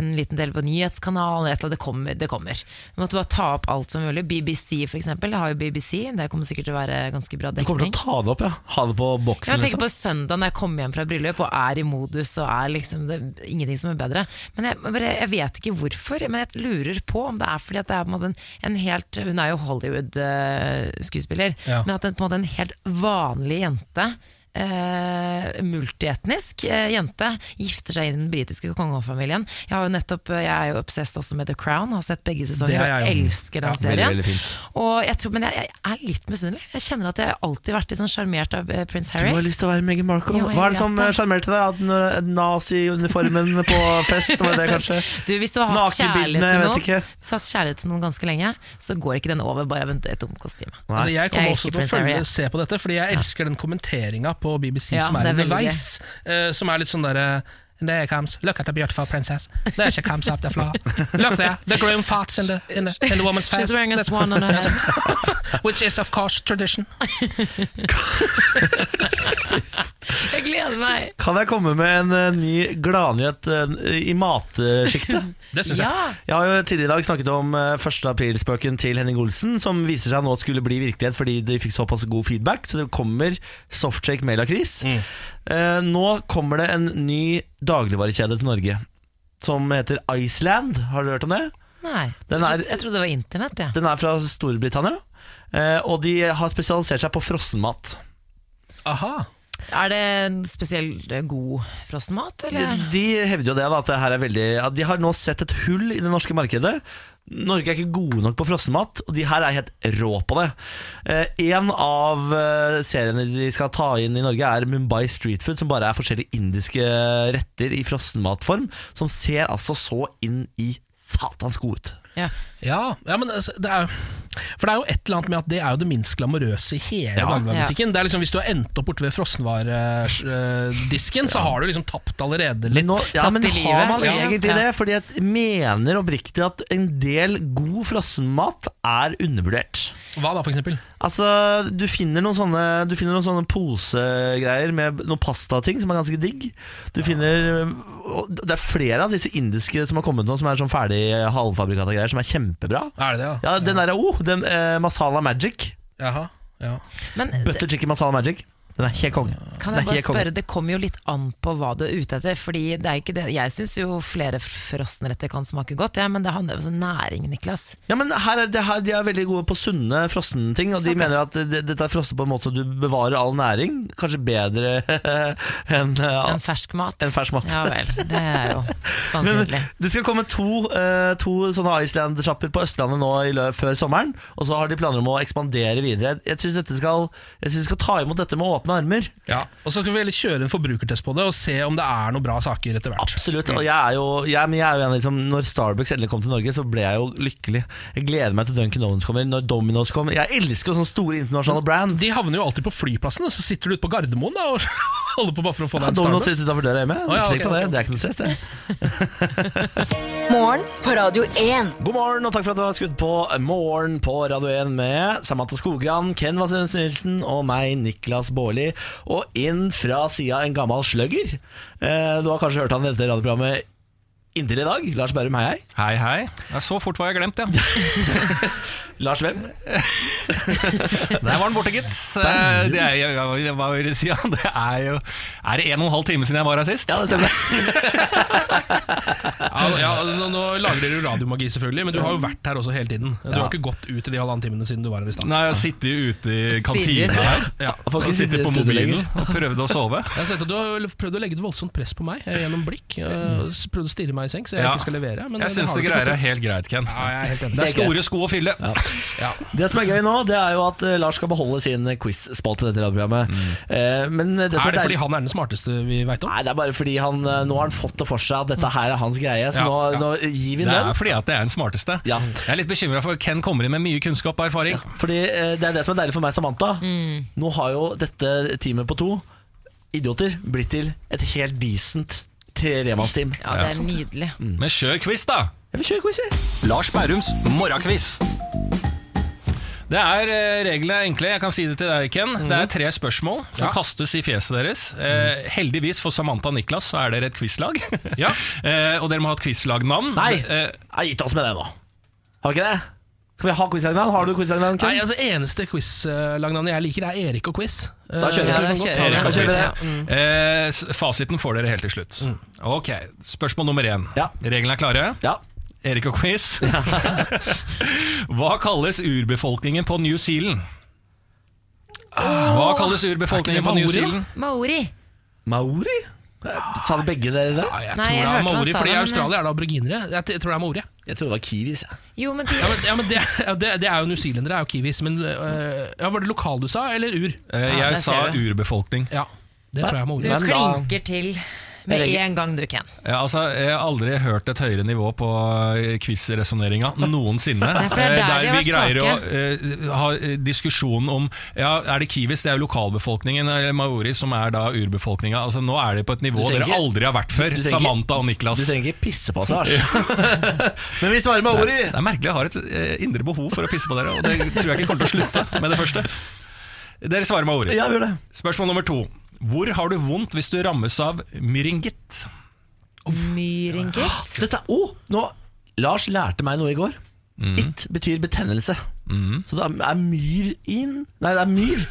en liten del på nyhetskanalen, eller et eller annet, det kommer. Det kommer. Du måtte bare ta opp alt som mulig. BBC for eksempel, jeg har jo BBC, det kommer sikkert til å være ganske bra Du kommer til dekning. å ta det opp, ja. Ha det på Ja, boksen. Jeg tenker Liksom. på søndag når jeg kommer hjem fra bryllup og er i modus og er liksom det, ingenting som er bedre. Men jeg, men bare, jeg vet ikke hvorfor, men jeg lurer på om det er fordi at det er på en måte en, en helt Hun er jo Hollywood-skuespiller, Ja. men at en, på en måte en helt vanlig jente Eh, multietnisk eh, jente gifter seg i den britiske kongefamilien. Jeg, har jo nettopp, eh, jeg er jo obsessed også med The Crown, har sett begge Det sesonger er og jeg jo. elsker den Ja, serien. veldig, veldig fint. Og jeg tror, men jeg, jeg er litt misunnelig. Jeg kjenner at jeg har alltid vært litt sånn sjarmert av eh, prins Du Harry. har lyst til å være Meghan Markle. Ja, jeg Hva er det vet som eh, det. sjarmerte deg? At den nazi-uniformen på fest, var det det kanskje? Du, hvis du har hatt kjærlighet Nakenbildene, til jeg noen vet ikke. Hvis du har hatt kjærlighet til noen ganske lenge, så går ikke den over bare av en- et dumt kostyme. Nei. Altså, jeg kommer Jeg også til å elsker Prince Harry, følge, jeg. se på dette, fordi jeg elsker den kommenteringa på BBC Ja, som er det er veldig underveis. eh, som er litt sånn derre There comes, look at the beautiful princess. There she comes up the floor. Look there, the groom farts in the, in the, in the woman's face. She's wearing a That- swan on her head. Which is of course tradition. Jeg gleder meg! Kan jeg komme med en eh, ny gladnyhet eh, i matsjiktet? Det syns jeg. Ja, Jeg har jo tidligere i dag snakket om eh, 1. april-spøken til Henning Olsen, som viser seg nå skulle bli virkelighet fordi de fikk såpass god feedback. Så det kommer softshake med lakris. Eh, nå kommer det en ny dagligvarekjede til Norge som heter Iceland. Har dere hørt om det? nei. Den er- Jeg trodde det var internett, jeg. Den er fra Storbritannia, eh, og de har spesialisert seg på frossenmat. Aha. Er det en spesielt eh, god frossenmat, eller? De hevder jo det, da, at det her er veldig at De har nå sett et hull i det norske markedet. Norge er ikke gode nok på frossenmat, og de her er helt rå på det. Eh, en av eh, seriene de skal ta inn i Norge, er Mumbai Street Food, som bare er forskjellige indiske retter i frossenmatform, som ser altså så inn i satans god ut. Ja. Ja, ja men altså, det er, for det er jo et eller annet med at det er jo det minst glamorøse i hele Ja. dagligvarebutikken. Det er liksom, hvis du har endt opp borte ved frossenvaredisken, så har du liksom tapt allerede litt. Men, nå, ja, tatt men i har livet. man Ja. egentlig Ja. det? Fordi jeg mener oppriktig at en del god frossenmat er undervurdert. Hva da, for eksempel? Altså, du finner noen sånne Du finner noen sånne posegreier med noen pastating som er ganske digg. Du finner og Det er flere av disse indiske som har kommet nå, som er sånn ferdig halvfabrikata greier, som er kjempebra. Er det det, ja? Ja, den derre oh, den eh, masala magic. Jaha, ja. Men eh, Butter chicken masala magic. Den Den er helt konge. Kan Den jeg er bare helt konge. spørre, Det kommer jo litt an på hva du er ute etter. Fordi det er ikke det. Jeg syns jo flere frossenretter kan smake godt, ja, men det handler jo om sånn næring, Niklas. Ja, men her er, det her, De er veldig gode på sunne frossenting, og de mener at det- dette er frosset på en måte så du bevarer all næring. Kanskje bedre enn eh, En fersk mat. En fersk mat. Ja vel. Det er jo Men vanskelig. det skal komme to, eh, to sånne Iceland-sjapper på Østlandet nå i lø før sommeren, og så har de planer om å ekspandere videre. Jeg syns vi skal, jeg synes vi skal ta imot dette med åpne armer. Ja. Og så skal vi heller kjøre en forbrukertest på det og se om det er noen bra saker etter hvert. Absolutt. Og jeg er jo, jeg, men jeg er jo en, av de som- når Starbucks endelig kom til Norge, så ble jeg jo lykkelig. Jeg gleder meg til Duncan Owens kommer, når Domino's kommer. Jeg elsker jo sånne store internasjonale brands. De havner jo alltid på flyplassen, og så sitter du ute på Gardermoen da, og holder på bare for å få Ja, deg en Domino's Starbucks. rett utenfor døra hjemme. Å, ja, Tenk ok, på det, ok. det er ikke noe stress, det. Morgen på Radio 1. God morgen, og takk for at du har skutt på Morgen på Radio 1 med Samantha Skogran, Ken Vasenus Nilsen og meg, Niklas Baarli. Og inn fra sida en gammel slugger. Eh, Du har kanskje hørt han i dette radioprogrammet inntil i dag. Lars Berrum, hei hei. Hei, hei. Ja, så fort var jeg glemt, ja. Lars hvem? Der var den borte, gitt. Eh, Det er, jo- ja, hva vil jeg si? ja, Det er jo Er det en og en halv time siden jeg var her sist? Ja, det stemmer. Ja, ja, nå, nå lager dere jo radiomagi, selvfølgelig, men du har jo vært her også hele tiden. Du har ikke gått ut i de halvannen timene siden du var her i stad. Nei, jeg sitter ute i kantina Stirret. her. Ja. Jeg får ikke sitte i Sitter på studio mobilen lenger. og prøvde å sove. Jeg har sett at Du har prøvd å legge et voldsomt press på meg eh, gjennom blikk. eh, s- Prøvd å stirre meg i seng, så jeg Ja. ikke skal levere. Men Jeg syns har det du ikke greier er fått helt greit, Ken. til. Ja, jeg er helt enig. Det er store sko å fylle. Ja. Det som er gøy nå, det er jo at eh, Lars skal beholde sin quiz-spalte i dette radioprogrammet. Eh, Men det som Mm. Er det deilig- fordi han er den smarteste vi veit om? Nei, det er bare fordi han, eh, nå har han fått det for seg at dette her er hans greie, så Ja, nå, ja. nå gir vi Det den. er fordi at jeg er den smarteste. Ja. Jeg er litt bekymra for Ken kommer inn med mye kunnskap og erfaring. Fordi eh, Det er det som er deilig for meg, Samantha. Mm. Nå har jo dette teamet på to idioter blitt til et helt decent tremannsteam. Ja, det er nydelig. Men kjør quiz, da! Jeg vil kjøre quiz, vi. Lars Bærums morgenquiz. Det er eh, reglene er enkle. Jeg kan si det til deg, Ken. Det er tre spørsmål som kastes i fjeset deres. Eh, heldigvis for Samantha og Niklas så er dere et quizlag. Ja. eh, og dere må ha et quizlagnavn. Nei, Eh, jeg har gitt oss med det nå. Har vi ikke det? Skal vi ha quizlagnavn? Har du quizlagnavn? Nei, Ken? altså Eneste quiz-lagnavnet jeg liker, er Erik og quiz. Eh, Da kjører Ja, vi. da så vi. kan godt ta kjører Erik Kan og kjøre quiz. det. Eh, s- fasiten får dere helt til slutt. Ok, Spørsmål nummer én. Ja. Reglene er klare. Ja. Erik og quiz. Hva kalles urbefolkningen på New Zealand? Ah, Hva kalles urbefolkningen Er ikke det på New maori, da? Zealand? Maori. Maori? Eh, Sa begge dere det? Ja, jeg Nei, tror jeg det er hørte hva han maori, sa, fordi i men- Australia er det aboriginere. Jeg t- tror det er maori. jeg. Jeg trodde det var kiwis. jeg. Jo, men de Ja, men, ja, men det, ja, det, det er jo newzealendere, det er jo kiwis. Men øh, ja, var det lokal du sa, eller ur? Eh, Ja, jeg der sa ser du. urbefolkning. Ja, det tror jeg er Du maori. Men da- klinker til med Jeg legger- en gang du kan. Ja, altså, jeg har aldri hørt et høyere nivå på eh, quiz-resonneringa noensinne. Nei, for det er Eh, der vi har vi vært greier å eh, ha eh, diskusjon om ja, Er det kiwis, det er jo lokalbefolkningen, eh, eller maori, som er da urbefolkninga. Altså, nå er det på et nivå Du trenger dere ikke- aldri har vært før. du trenger ikke- Samantha og Niklas. Du trenger ikke pisse på oss, Lars. Men vi svarer Det Maori. er, det er merkelig, jeg har et eh, indre behov for å pisse på dere, og det tror jeg ikke kommer til å slutte med det første. Dere svarer maori. Ja, vi gjør det. Spørsmål nummer to. Hvor har du vondt hvis du rammes av myringitt? Myringitt. Dette, oh, nå, Lars lærte meg noe i går. Mm. It betyr betennelse. Så det er myr inn Nei, det er myr.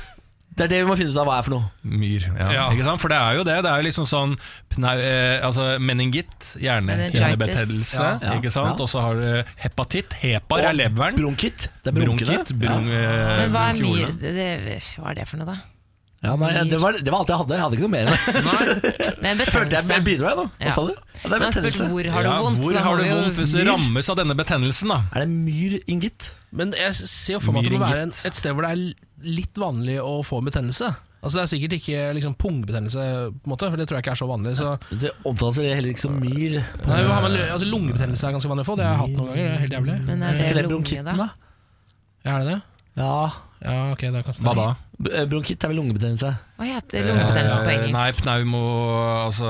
Det er det vi må finne ut av hva er for noe. Myr, ja. Ja. Ikke sant? For det er jo det. Det er jo liksom sånn pneu, eh, altså meningitt, hjerne, Meningitis. hjernebetennelse. Ja. Ikke sant? Ja. Og så har du hepatitt. Hepar Og er leveren. Bronkitt. Det er bronkene. Bronkitt. Brun, eh, Men hva er myr? bronkiolene. Det, det, hva er det for noe, da? Ja, nei, det, var, det var alt jeg hadde. Jeg hadde ikke noe mer. Jeg Det er en Følte jeg jeg betennelse. bidro, jeg nå. Hva Ja. sa du? Ja, det er Men han spurte betennelse. hvor har du Ja, vondt. så Hvor da må har du vi jo- vondt hvis du myr. rammes av denne betennelsen, da? Er det myr, Ingit? Men jeg ser jo for meg at det må være en, et sted hvor det er litt vanlig å få betennelse. Altså Det er sikkert ikke liksom, pungbetennelse, på en måte, for det tror jeg ikke er så vanlig. Så. Det omtales vel heller ikke som myr. På, Nei, har man, altså, lungebetennelse er ganske vanlig å få, det har jeg hatt noen ganger. Det er helt jævlig. Men er er ikke det det lunge, bronkitten, da? da? Ja, er det det? Ja, Ja, ok, da kan Hva da? B- eh, Bronkitt er vel lungebetennelse. Hva heter lungebetennelse på Eh, engelsk? Nei, pneumo Altså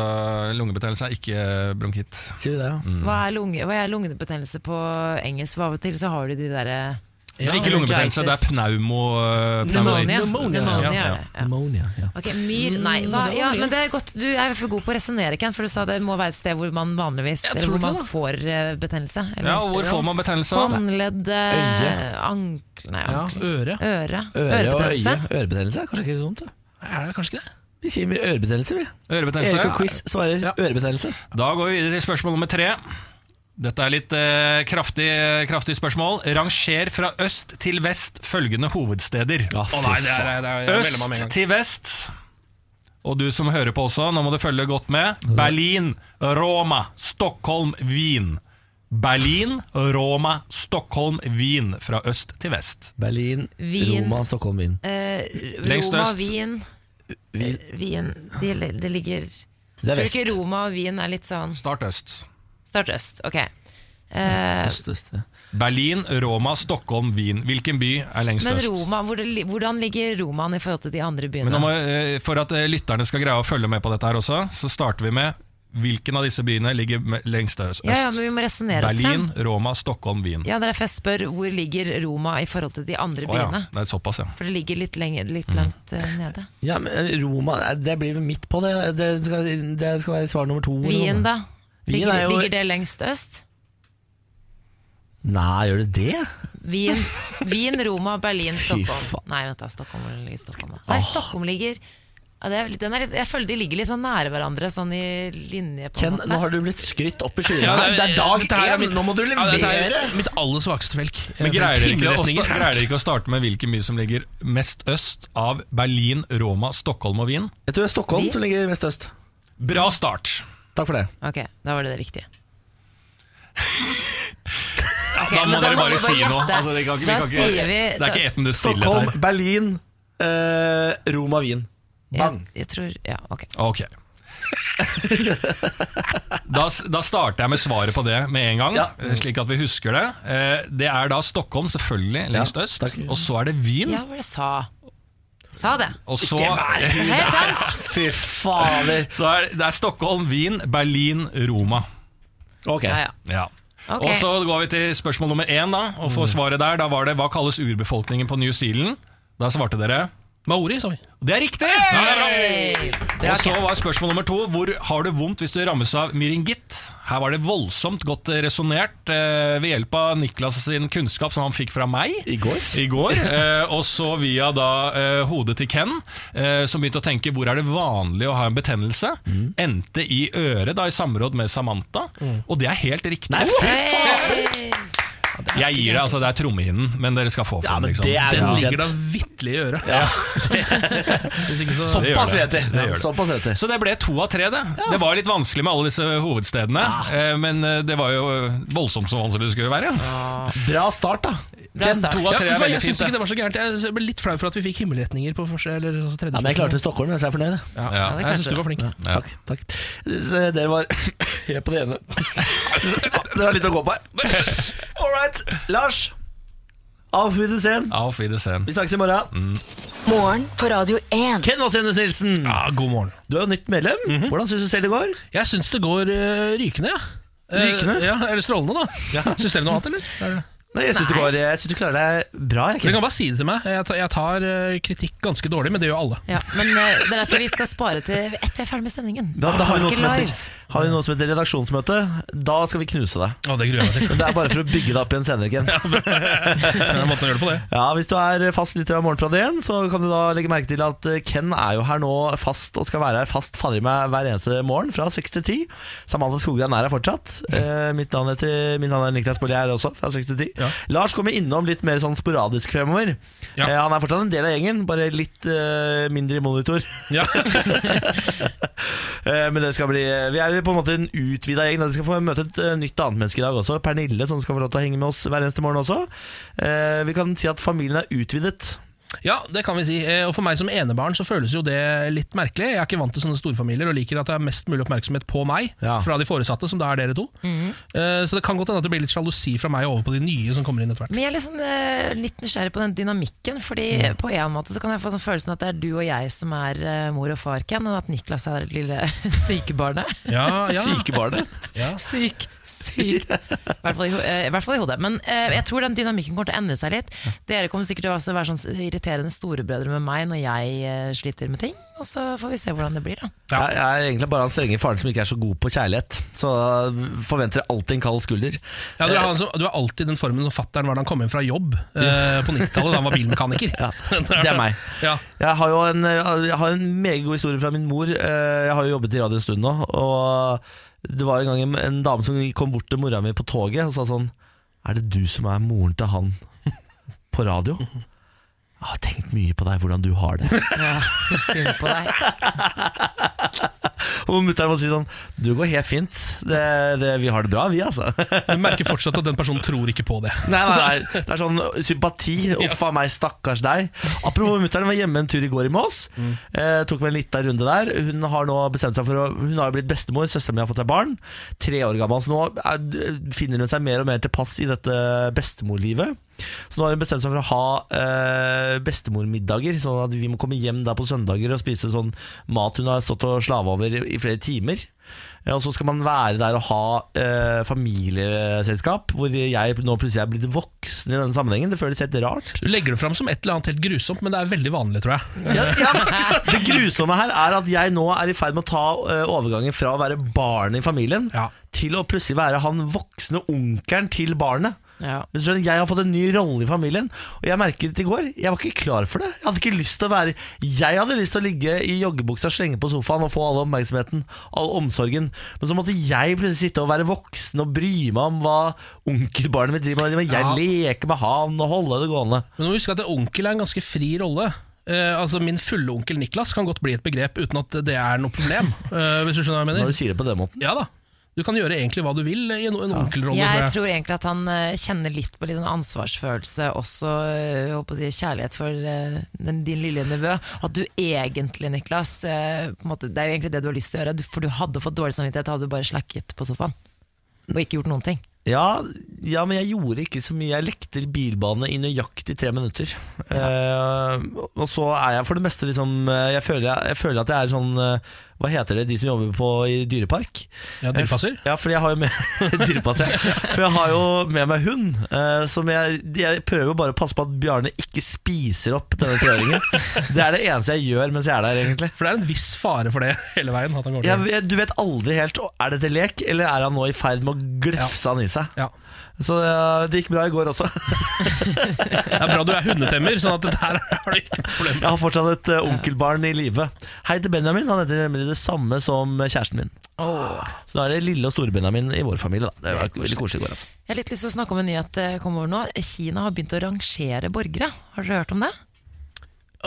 lungebetennelse er ikke eh, bronkitt. Sier du det, ja? Hva er, lunge, hva er lungebetennelse på engelsk? For av og til så har du de derre Det er ikke lungebetennelse, det er pneumo... eh, pneumonia. Pneumonia, Pneumonia. Pneumonia ja. er det. Ja. Pneumonia. Ja. Ok, myr, nei. Mm, Hva, ja, men det er godt. Du er for god på å resonnere, Ken, for du sa det må være et sted hvor man vanligvis Jeg eller tror hvor man det, da. får eh, betennelse. Ja, og hvor får man betennelse? Håndledd, Øye. ankle Nei, Ja, ankle. øre. Øre. Øre og øye. Ørebetennelse. Ørebetennelse er kanskje ikke så dumt? da? Er det kanskje ikke det? Vi sier vi ørebetennelse, vi. Ørebetennelse. Erik og Quiz svarer Ja. ørebetennelse. Da går vi videre til spørsmål nummer tre. Dette er litt eh, kraftig, kraftig spørsmål. Ranger fra øst til vest følgende hovedsteder. Å nei, det er, det er, det er veldig mange med en Øst gang. til vest. Og du som hører på også, nå må du følge godt med. Berlin, Roma, Stockholm, Wien. Berlin, Roma, Stockholm, Wien. Fra øst til vest. Berlin, Wien. Roma, Stockholm, Wien. Eh, Lengst Roma, øst. Wien, Eh, Wien. Wien Det det ligger Det er Tror du vest. ikke Roma og Wien er litt sånn Start øst. Start øst, ok. Eh, Øst, øst, ja. Berlin, Roma, Stockholm, Wien. Hvilken by er lengst men øst? Roma, hvor det, li- hvordan ligger Romaen i forhold til de andre byene? Men nå må, eh, For at eh, lytterne skal greie å følge med på dette her også, så starter vi med hvilken av disse byene ligger me- lengst øst? ja, ja, men vi må resonnere oss frem. Berlin, Roma, Stockholm, Wien. Ja, det er derfor jeg spør hvor ligger Roma i forhold til de andre Å ja, byene. det er såpass, ja. For det ligger litt, lenger, Mm. litt langt eh, nede. ja, men Roma, det blir vel midt på det. Det skal, det skal være svar nummer to. eller Wien, noe. da? Wien Ligger, er jo- ligger det lengst øst? Nei, gjør det det? Wien, Wien Roma, Berlin, Fy Stockholm. faen. Nei, vent da, Stockholm hvor ligger Stockholm. da? Nei, Stockholm ligger ja, det er, litt- den er litt, Jeg føler de ligger litt sånn nære hverandre, sånn i linje, på Ken, en nå måte. har du blitt skrytt opp i skyene. Ja, her. det, er dag dette her er én! mitt- Nå må du Ja, levere! dette er mitt aller svakeste felk. Altså, Men greier dere, ikke å sta- Pinneretninger. greier dere ikke å starte med hvilken by som ligger mest øst av Berlin, Roma, Stockholm og Wien? Jeg tror det er Stockholm som ligger mest øst. Bra start! Takk for det. Ok, da var det det riktige. Ok, da må men dere bare si gjette. noe. Altså, det kan ikke- vi da kan ikke- sier vi Det er ikke ett minutt Stockholm, stillhet her. Berlin, eh, Roma, Wien. Bang! Jeg, jeg tror, ja, ok. Ok. Da, s- da starter jeg med svaret på det med en gang, eh, Ja. slik at vi husker det. Eh, Det er da Stockholm, selvfølgelig, lengst Ja, øst. takk. Og så er det Wien. Ja, hva var det jeg sa? Sa det. Og så, Helt sant? Fy fader! så er det er Stockholm, Wien, Berlin, Roma. Ok. Ja, ja. Ja. Ok. Og så går vi til spørsmål nummer én, da, og Mm. får svaret der. Da var det 'Hva kalles urbefolkningen på New Zealand?' Da svarte dere Maori, sa vi. Det er riktig! Ja, det er bra. Og så var spørsmål nummer to Hvor har du vondt hvis du rammes av myringitt? Her var det voldsomt godt resonert eh, ved hjelp av Niklas sin kunnskap som han fikk fra meg I går? i går, eh, og så via da eh, hodet til Ken, eh, som begynte å tenke hvor er det vanlig å ha en betennelse, Mm. endte i øret da i samråd med Samantha, og det er helt riktig. Nei, fy fader! Jeg gir det, altså det er trommehinnen, men dere skal få for Ja, den. men Liksom. det er Den Ja. ligger da vitterlig i øret. Hvis ikke så Det gjør Såpass det. vet vi. Det gjør det. Såpass vet vi. Så det ble to av tre, det. Det var litt vanskelig med alle disse hovedstedene, eh, men eh, det var jo eh, voldsomt så vanskelig det skulle være. Bra start, da. Bra start. To av Ja, vet tre er du hva, veldig jeg syns fint. ikke det. det var så gærent. Jeg ble litt flau for at vi fikk himmelretninger på første eller altså, tredje Ja, men jeg spørsmål. klarte Stockholm, så jeg er fornøyd. jeg. Ja, Ja, det jeg klarte syns du var flink. Ja. Takk. takk Så Dere var helt på det ene. Dere har litt å gå på her. All right. Lars. Auf Wiedersehen. Auf Wiedersehen. Vi snakkes i Mm. morgen. Morgen på Radio 1. Ken Vasenus Nilsen, Ja, Mhm. god morgen. du er jo nytt medlem. Hvordan syns du selv det går? Jeg syns det går eh, rykende, jeg. Eh, Rykende? ja, eller strålende, da. Syns dere noe annet, eller? Er det- Nei, Jeg syns du, går- jeg synes du klarer deg bra. Jeg, Dere Ken. kan bare si det til meg. Jeg tar, jeg tar eh, kritikk ganske dårlig, men det gjør alle. Ja, men eh, det er derfor vi skal spare til etter vi er ferdig med sendingen. Da, da har, vi noe Ikke som heter, live. har vi noe som heter redaksjonsmøte. Da skal vi knuse deg. Å, det gruer jeg meg til. Men det er bare for å bygge deg opp igjen senere. Ken. Det er måten å gjøre det på, det. Ja, Hvis du er fast lytter av Morgenprat 1, så kan du da legge merke til at eh, Ken er jo her nå fast, og skal være her fast fader i meg hver eneste morgen fra 6 til 10. Samantha Skogran er her fortsatt. Eh, mitt, navn heter, mitt navn er Niklas Baarli her også, fra 6 til 10. Ja. Lars kommer innom litt mer sånn sporadisk fremover. Ja. Eh, han er fortsatt en del av gjengen, bare litt eh, mindre i monitor. Ja. Eh, Men det skal bli Vi er på en måte en utvida gjeng. da. Vi skal få møte et eh, nytt annet menneske i dag også. Pernille, som skal få lov til å henge med oss hver eneste morgen også. Eh, Vi kan si at familien er utvidet. ja, det kan vi si. Eh, Og for meg som enebarn så føles jo det litt merkelig. Jeg er ikke vant til sånne storfamilier og liker at det er mest mulig oppmerksomhet på meg Ja. fra de foresatte, som da er dere to. Eh, Så det kan godt hende at det blir litt sjalusi fra meg over på de nye som kommer inn etter hvert. Men jeg er litt sånn, eh, litt nysgjerrig på den dynamikken, Fordi Mm. på en måte så kan jeg få sånn følelsen at det er du og jeg som er eh, mor og far, Ken, og at Niklas er det lille sykebarnet. Ja, ja. Sykebarnet. Syk, Sykt. I hvert fall i, ho- eh, i hvert fall i hodet. Men eh, jeg tror den dynamikken kommer til å endre seg litt. Dere kommer sikkert til å også være sånn irriterende storebrødre med meg når jeg eh, sliter med ting. Og så får vi se hvordan det blir, da. Jeg jeg er egentlig bare han strenge faren som ikke er så god på kjærlighet. Så forventer alltid en kald skulder. Ja, du, er han som, du er alltid den formen som fatter'n var da han kom hjem fra jobb eh, på 90-tallet, da han var bilmekaniker. Det er meg. Ja. Jeg har jo en, jeg har en meget god historie fra min mor. Eh, Jeg har jo jobbet i radio en stund nå. Og det var en gang en, en dame som kom bort til mora mi på toget og sa sånn Er det du som er moren til han på radio? Jeg har tenkt mye på deg, hvordan du har det. Ja, synd på deg. Og mutter'n må si sånn Du går helt fint. Det, det, vi har det bra, vi, altså. Du merker fortsatt at den personen tror ikke på det. Nei, nei, nei, det er sånn sympati. Uff a meg, stakkars deg. Apropos mutter'n, var hjemme en tur i går i Mås. Eh, tok meg en liten runde der. Hun har nå bestemt seg for å Hun har jo blitt bestemor, søsteren min har fått seg barn. Tre år gammel, så nå er, finner hun seg mer og mer tilpass i dette bestemorlivet. Så nå har hun bestemt seg for å ha eh, bestemormiddager, sånn at vi må komme hjem da på søndager og spise sånn mat hun har stått og slave over i, i flere timer. Ja, Eh, Og så skal man være der og ha eh, familieselskap, hvor jeg nå plutselig er blitt voksen i denne sammenhengen. Det føles helt rart. Du legger det fram som et eller annet helt grusomt, men det er veldig vanlig, tror jeg. Ja, ja. Det grusomme her er at jeg nå er i ferd med å ta eh, overgangen fra å være barnet i familien Ja. til å plutselig være han voksne onkelen til barnet. Ja. Hvis du skjønner, Jeg har fått en ny rolle i familien, og jeg merket det i går. Jeg var ikke klar for det. Jeg hadde ikke lyst til å være Jeg hadde lyst til å ligge i joggebuksa, slenge på sofaen og få all oppmerksomheten, all omsorgen. Men så måtte jeg plutselig sitte og være voksen og bry meg om hva onkelbarnet mitt driver med. Jeg Ja. leker med han og holde det gående. Men du må huske at en onkel er en ganske fri rolle. Eh, altså Min fulle onkel Niklas kan godt bli et begrep uten at det er noe problem. eh, hvis du skjønner hva jeg Når mener? du sier det på den måten. Ja da. Du kan gjøre egentlig hva du vil i en, en onkelrolle. tror Jeg jeg. tror egentlig at han eh, kjenner litt på litt sånn ansvarsfølelse, også eh, jeg håper å si, kjærlighet for eh, den, din lille nevø. At du egentlig, Niklas, eh, på en måte, det er jo egentlig det du har lyst til å gjøre, du- for du hadde fått dårlig samvittighet, hadde du bare slakket på sofaen og ikke gjort noen ting. Ja, ja, men jeg gjorde ikke så mye. Jeg lekte bilbane i nøyaktig tre minutter. Eh, og så er jeg for det meste liksom eh, Jeg føler, jeg, jeg føler at jeg er sånn eh, Hva heter det, de som jobber på i dyrepark? Eh, Ja, dyrepasser? Ja, fordi jeg har jo med Dyrepasser, ja. For jeg har jo med meg hund eh, Som jeg, jeg prøver jo bare å passe på at Bjarne ikke spiser opp denne treåringen Det er det eneste jeg gjør mens jeg er der egentlig For det er en viss fare for det hele veien. At han går til. jeg, jeg, Du vet aldri helt, å, er dette lek Eller er han nå i ferd med å glefse han i seg Ja. Så eh, det gikk bra i går også Det er bra du er hundetemmer, sånn at det der har du ikke noe problem. Jeg har fortsatt et eh, onkelbarn i live Hei til Benjamin, han heter nemlig det samme som eh, kjæresten min Så nå er det lille og store Benjamin i vår familie da. Det var veldig koselig i går altså Jeg har litt lyst til å snakke om en nyhet jeg kom over nå. Kina har begynt å rangere borgere. Har dere hørt om det?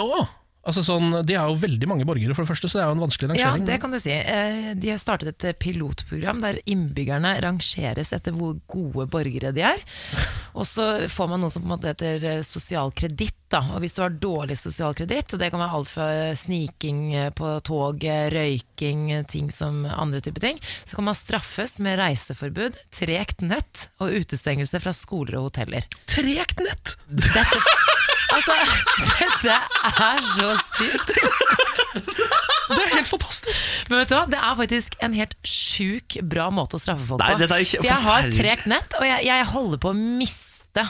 Åh, altså sånn, De er jo veldig mange borgere, for det første, så det er jo en vanskelig Ja, rangering. det kan du si. Eh, De har startet et pilotprogram der innbyggerne rangeres etter hvor gode borgere de er. Og så får man noe som på en måte heter eh, sosial kreditt. da. Og hvis du har dårlig sosial kreditt, det kan være alt fra sniking eh, på toget, røyking, eh, ting som andre typer ting, så kan man straffes med reiseforbud, tregt nett og utestengelse fra skoler og hoteller. Tregt nett! Dette, altså, dette er så sykt! Det er helt fantastisk! Men vet du hva, det er faktisk en helt sjuk bra måte å straffe folk Nei, på. dette er ikke- For jeg har forferdelig. tregt nett, og jeg, jeg holder på å miste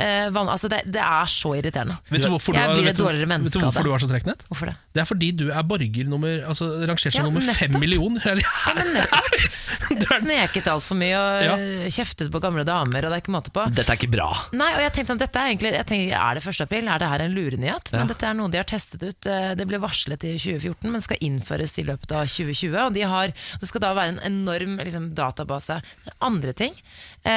eh, vann... Altså, det, det er så irriterende. Vet du hvorfor, Jeg du, blir er- et vet du, dårligere vet menneske du av det. hvorfor du har så tregt nett? Hvorfor det? Det er fordi du er borger nummer, altså rangert som Ja, nummer fem nettopp. millioner. Eller, Ja, men Du nettopp. er- Sneket altfor mye og Ja. eh, kjeftet på gamle damer, og det er ikke måte på. Dette er ikke bra Nei, og jeg tenkte at dette er egentlig jeg tenker, Er det 1. april? Er det her en lurenyhet? Men dette er noe de har testet ut. Eh, Det ble varslet i 2014, men skal innføres i løpet av 2020. Og de har, det skal da være en enorm liksom, database. Andre ting.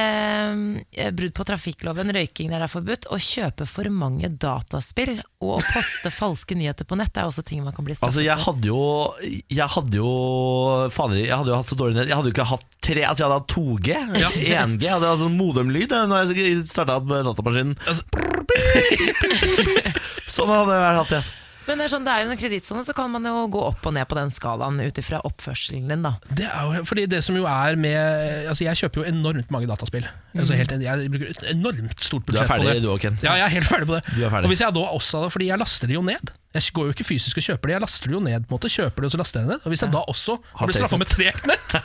Eh, brudd på trafikkloven, røyking der det er forbudt. Å kjøpe for mange dataspill og å poste falske nyheter på nett det er også ting man kan bli straffet Altså, jeg hadde jo Jeg hadde jo Fader, jeg hadde jo hatt så dårlig nett. Jeg hadde jo ikke hatt tre Altså, jeg hadde hatt 2G, 1G. Jeg hadde hatt sånn modemlyd jeg, når jeg starta opp datamaskinen. Altså- Sånn hadde jeg hatt det. Men det er sånn, det er jo en kredittsone, så kan man jo gå opp og ned på den skalaen ut ifra oppførselen din, da. Det er jo, fordi det som jo er med Altså Jeg kjøper jo enormt mange dataspill. Mm. Altså helt, jeg bruker et enormt stort Du er budsjett på ferdig, det. du òg, Ken. Ja, jeg er helt ferdig på det. Du er ferdig. Og hvis jeg da også hadde Fordi jeg laster det jo ned. Jeg går jo ikke fysisk og kjøper det, jeg laster det jo ned. på en måte Kjøper det, og så laster jeg det ned. Og Hvis jeg da også blir straffa med tregt nett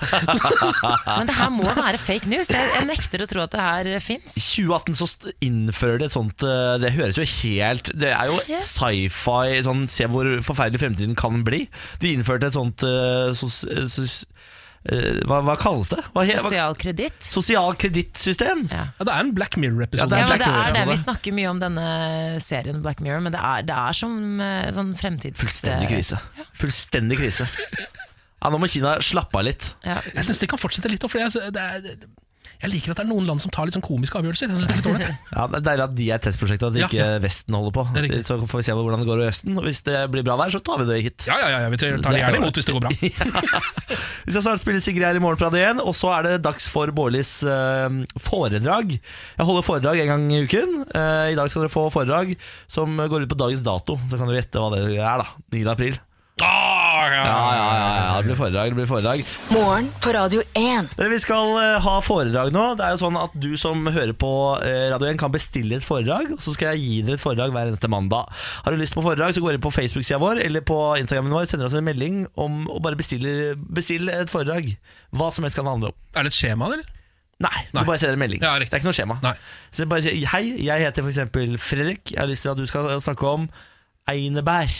Men det her må være fake news. Jeg, jeg nekter å tro at det her fins. I 2018 så st- innfører de et sånt eh, Det høres jo helt Det er jo Ja. sci-fi sånn, Se hvor forferdelig fremtiden kan bli De innførte et sånt eh, sos, eh, sos, eh, hva, hva kalles det? Hva, he- hva, Sosial kreditt. sosial kredittsystem Ja. Ja, Det er en Black Mirror-episode. Ja, det Ja, er Black altså. men det er det. Mirror-episode. Vi snakker mye om denne serien Black Mirror, men det er, det er som eh, sånn fremtids... Fullstendig krise Fullstendig krise ja, Nå må Kina slappe av litt Ja. Jeg syns de kan fortsette litt. For jeg, det er, jeg liker at det er noen land som tar litt sånn komiske avgjørelser. Jeg synes det er litt ålreit, jeg. ja, Det er deilig at de er testprosjektet Og at Ja, ikke Vesten holder på Det er riktig. Så får vi se hvordan det går i Østen Og hvis det blir bra der så tar vi det hit Ja, ja, ja, ja, vi tar det gjerne imot hvis det går bra. Vi skal snart spille Sigrid her i morgen på Radio 1, og så er det dags for Bårlis eh, foredrag. Jeg holder foredrag en gang i uken. Eh, I dag skal dere få foredrag som går ut på dagens dato. Så kan dere gjette hva det er, da. 9. april. Ah, ja. Ja, ja, ja, ja. Det blir foredrag. det blir foredrag Morgen på Radio 1. Dere, Vi skal eh, ha foredrag nå. Det er jo sånn at Du som hører på eh, Radio 1, kan bestille et foredrag. Og så skal jeg gi dere et foredrag hver eneste mandag. Har du lyst på foredrag, så gå inn på Facebook-sida vår eller på Instagrammen vår. Sender oss en melding om å bare bestille, bestille et foredrag. Hva som helst kan det handle om. Er det et skjema, eller? Nei, Nei. du bare sender en melding. Ja, det riktig. er ikke noe skjema. Nei. Så jeg bare sier hei, jeg heter for eksempel Fredrik. Jeg har lyst til at du skal snakke om einebær.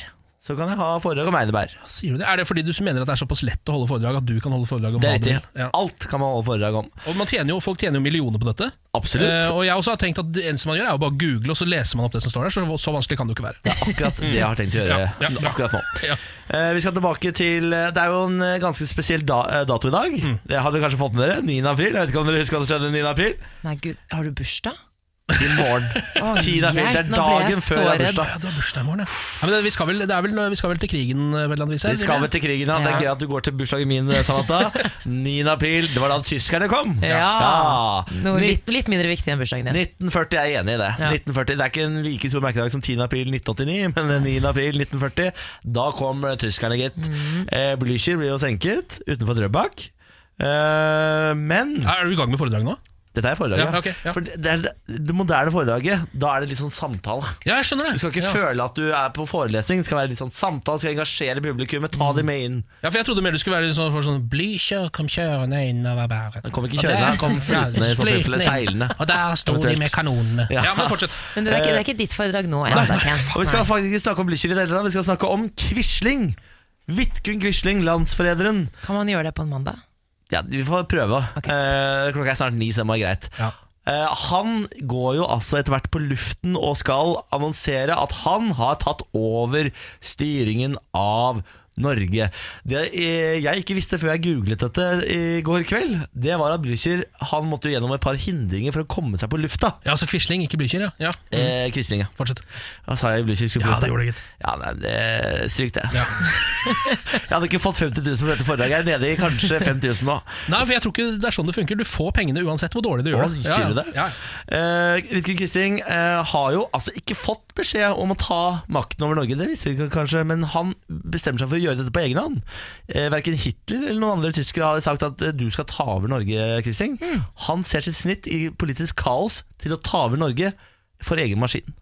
Så kan jeg ha foredrag om einebær. Sier du det? Er det fordi du mener at det er såpass lett å holde foredrag at du kan holde foredrag om Det hva er du riktig. vil? Ja. Alt kan man holde foredrag om. Og man tjener jo, Folk tjener jo millioner på dette. Eh, Absolutt. og jeg også har tenkt at Det eneste man gjør, er jo bare å google, og så leser man opp det som står der. Så, så vanskelig kan det jo ikke være. Det er akkurat det jeg har tenkt å gjøre Ja, ja, ja. akkurat nå. Ja. Eh, Vi skal tilbake til eh, Det er jo en eh, ganske spesiell da, eh, dato i dag. Mm. Det har dere kanskje fått med dere. 9. april. Jeg vet ikke om dere husker at det skjedde 9. april? Nei, gud, har du bursdag? I morgen. Å, 10. april. Det er hjelp, nå ble jeg dagen så før jeg har redd. bursdag. Ja, du har bursdag i morgen, ja. ja men det, vi, skal vel, det er vel, vi skal vel til krigen eh, på et eller annet vis? her, Vi skal eller? vel til krigen, ja. Det er Ja. gøy at du går til bursdagen min, eh, Samantha. 9. april, det var da tyskerne kom. Ja. Ja. Noe Ni- litt, litt mindre viktig enn bursdagen din. 1940, jeg er enig i det. Ja. 1940, Det er ikke en like stor merkedag som 10. april 1989, men 9. april 1940, da kom eh, tyskerne, gitt. Mhm. Eh, Blücher ble jo senket utenfor Drøbak. Eh, men Ja, Er du i gang med foredrag nå? Dette er foredraget. Ja, ok, ja. For det, det, er det moderne foredraget, da er det litt sånn samtale. Ja, jeg skjønner det. Du skal ikke ja. føle at du er på forelesning, det skal være litt sånn samtale, skal engasjere publikummet, Mm. ta dem med inn. ja, for Jeg trodde mer du skulle være sånn, for sånn Blücher kom kjørende innover bæren. Han kom ikke kjørende, han kom flytende, i så tilfelle seilende. Og der sto de Eventuelt. med kanonene. Ja. Ja, men fortsett. Men det er, ikke, det er ikke ditt foredrag nå. Enda, Ken. Og vi skal faktisk ikke snakke om Blücher i det hele tatt, vi skal snakke om Quisling. Vidkun Quisling, landsforræderen. Kan man gjøre det på en mandag? Ja, vi får prøve. Ok. Eh, klokka er snart ni, så det må være greit. Ja. Eh, han går jo altså etter hvert på luften og skal annonsere at han har tatt over styringen av Norge. Det eh, jeg ikke visste før jeg googlet dette i går kveld, det var at Blücher han måtte jo gjennom et par hindringer for å komme seg på lufta. Ja, så Quisling, ikke Blücher. Ja. ja. Eh, Quisling, ja. Mm. Fortsett. Hva sa jeg Blücher skulle på Ja, lufta? det gjorde du, gitt. Ja, nei, det, stryk det. Ja. Jeg hadde ikke fått 50 000 for dette fordraget. Jeg er nede i kanskje 5000 nå. Nei, for jeg tror ikke det er sånn det funker. Du får pengene uansett hvor dårlig du Å, gjør det. sier du det? Ja. Eh, Vidkun Quisling eh, har jo altså ikke fått beskjed om å ta makten over Norge, det visste vi kanskje, men han bestemmer seg for å gjøre dette på egen hånd. Eh, verken Hitler eller noen andre tyskere har sagt at eh, du skal ta over Norge, Quisling. Han ser sitt snitt i politisk kaos til å ta over Norge for egen maskin.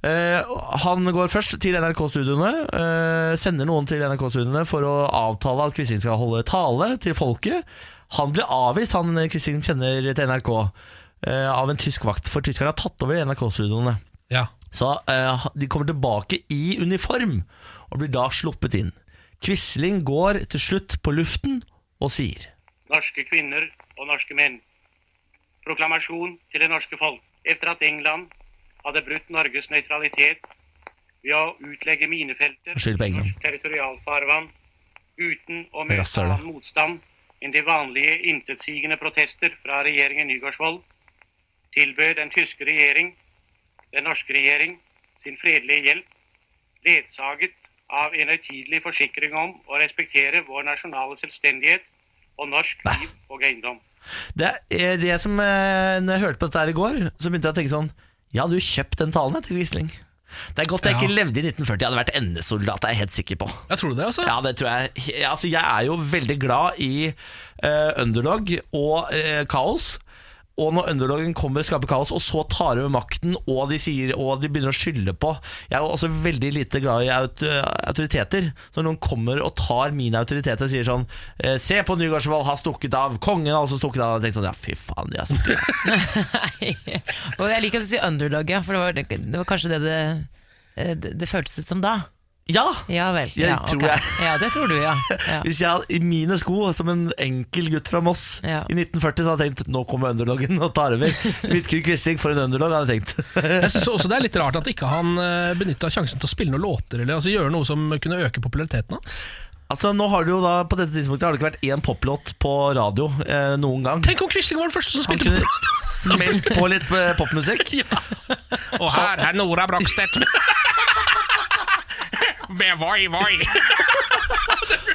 Eh, han går først til NRK-studioene, eh, sender noen til NRK-studioene for å avtale at Quisling skal holde tale til folket. Han blir avvist, han eh, Quisling kjenner til NRK, eh, av en tysk vakt, for tyskerne har tatt over NRK-studioene. Ja. Så eh, de kommer tilbake i uniform, og blir da sluppet inn. Quisling går til slutt på luften og sier norske kvinner og norske menn. Proklamasjon til det norske folk. Etter at England hadde brutt Norges nøytralitet ved å utlegge minefelter Skyld på i England. norsk territorialfarvann uten å møte Rasshøl. annen motstand enn de vanlige intetsigende protester fra regjeringen Nygaardsvold, tilbød den tyske regjering, den norske regjering, sin fredelige hjelp, ledsaget av en høytidelig forsikring om å respektere vår nasjonale selvstendighet og norsk liv og eiendom. Det er det som eh, Når jeg hørte på dette her i går, så begynte jeg å tenke sånn Jeg hadde jo kjøpt den talen jeg, til Quisling. Det er godt jeg ikke levde i 1940. Jeg hadde vært endesoldat, det er jeg helt sikker på. Jeg tror det, altså. Ja, det tror Jeg ja, altså, Jeg er jo veldig glad i eh, underdog og eh, kaos. Og når underdogen kommer, skaper kaos, og så tar over makten, og de, sier, og de begynner å skylde på Jeg er jo også veldig lite glad i aut autoriteter. Så når noen kommer og tar min autoritet og sier sånn eh, Se på Nygaardsvold, har stukket av. Kongen har også stukket av. Jeg tenkte sånn, ja, fy faen, de har stukket av. Og jeg liker at du sier underdog, ja, for det var, det var kanskje det det, eh, det det føltes ut som da. Ja! Ja vel. Jeg ja, tror ok. jeg. ja, det tror du, ja. ja. Hvis jeg hadde- i mine sko, som en enkel gutt fra Moss Ja. i 1940, så hadde jeg tenkt nå kommer underdogen og tar over. Vidkun Quisling for en underdog, hadde jeg tenkt. Jeg synes også Det er litt rart at ikke han benytta sjansen til å spille noen låter eller altså gjøre noe som kunne øke populariteten hans. Altså, nå har det jo da, På dette tidspunktet har det ikke vært én poplåt på radio eh, noen gang. Tenk om Quisling var den første som Han spilte kunne smelt på litt eh, popmusikk. på Og her er Nora Brogstedt med Voi Voi.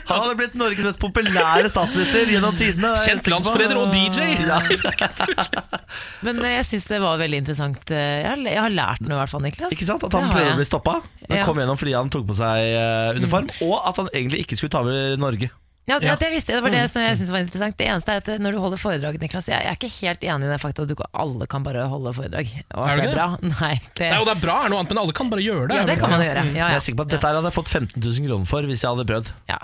Han hadde blitt Norges mest populære statsminister gjennom tidene. det er jeg Kjent sikker på. landsforræder og DJ. Ja, Men eh, jeg syns det var veldig interessant. eh, Jeg har, jeg har lært noe, i hvert fall, Niklas. ikke sant? At Det han har prøvde jeg. å bli stoppa, men Ja. Mm. kom gjennom fordi han tok på seg eh, uniform. Og at han egentlig ikke skulle ta over Norge. Ja, det, det visste jeg. Det var det som jeg syntes var interessant. Det eneste er at eh, når du holder foredrag, Niklas Jeg, jeg er ikke helt enig i det faktum at du, ikke- alle kan bare holde foredrag. Er du Og at det ikke er bra. Nei, det, Nei, og det er bra, er noe annet, men alle kan bare gjøre det. ja, det kan man gjøre. Ja, Jeg ja. er sikker på at Dette her hadde jeg fått 15 000 kroner for hvis jeg hadde prøvd. ja.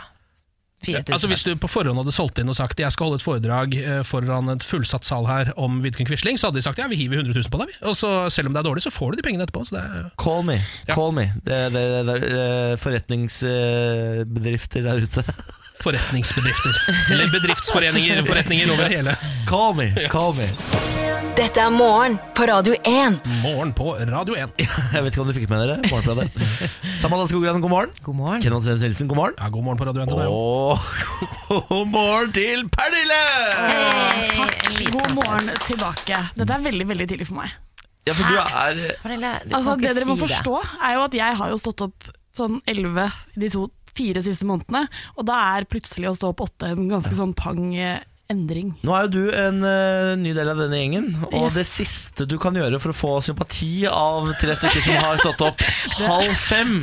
4000. Altså Hvis du på forhånd hadde solgt inn og sagt jeg skal holde et foredrag eh, foran et fullsatt sal her om Vidkun Quisling, så hadde de sagt ja, vi hiver 100 000 på deg. vi." Og så, selv om det er dårlig, så får du de pengene etterpå. Så det er Call me. Call me. Det, det, det, det er eh, forretningsbedrifter der ute. forretningsbedrifter. Eller bedriftsforeninger forretninger over hele Call me. Call me. Dette er morgen på Radio 1. morgen på Radio 1. Jeg vet ikke om du fikk med dere morgenpratet. Samantha Skogran, god morgen. God morgen. Kenneth Svens Nilsen, god morgen. Ja, Mm. god morgen på Radio 1 til deg også. Og god morgen til Pernille! God morgen tilbake. Dette er veldig veldig tidlig for meg. Ja, for du er Pernille, du Altså, kan det ikke dere må si forstå, er jo at jeg har jo stått opp sånn 11 de to fire siste månedene, og da er plutselig å stå opp åtte en ganske sånn pang eh, endring. Nå er jo du en eh, ny del av denne gjengen, og Yes. det siste du kan gjøre for å få sympati av tre stykker som har stått opp halv fem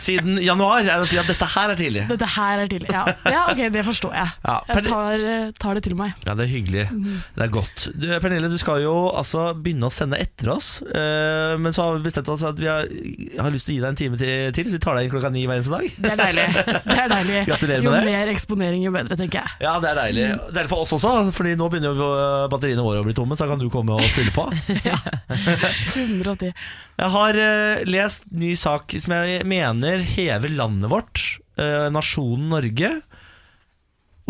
siden januar, er å si at dette her er tidlig. Dette her er tidlig. Ja, ja ok, det forstår jeg. Ja, Jeg tar, eh, tar det til meg. Ja, det er hyggelig. Det er godt. Du, Pernille, du skal jo altså begynne å sende etter oss. eh, men så har vi bestemt oss at vi har, har lyst til å gi deg en time til, til, så vi tar deg inn klokka ni hver eneste dag. Det er deilig. Det er deilig. Gratulerer med jo det. mer eksponering, jo bedre, tenker jeg. Ja, det er deilig. Deilig for oss også, Fordi nå begynner jo eh, batteriene våre å bli tomme, så da kan du komme og fylle på. 110. Jeg har eh, lest ny sak som jeg mener hever landet vårt, eh, nasjonen Norge.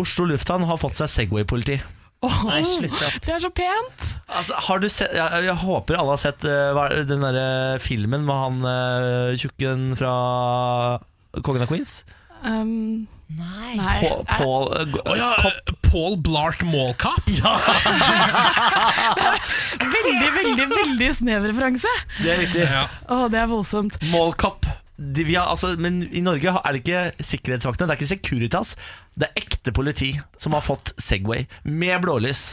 Oslo lufthavn har fått seg Segway-politi. Åh, Nei, slutt opp. det er så pent! Altså, har du sett, jeg, jeg håper alle har sett eh, hva er- den derre filmen med han eh, tjukken fra Kongen av Queens. Um, Nei. nei. Paul, Paul, eh, Go- Å ja, eh, Paul Blart Mallcop. Veldig, veldig, veldig snev referanse. det er riktig. Ja. Åh, det er voldsomt. Målkopp. De, vi har, altså, men i Norge er det ikke sikkerhetsvaktene, det er ikke Securitas. Det er ekte politi som har fått Segway med blålys.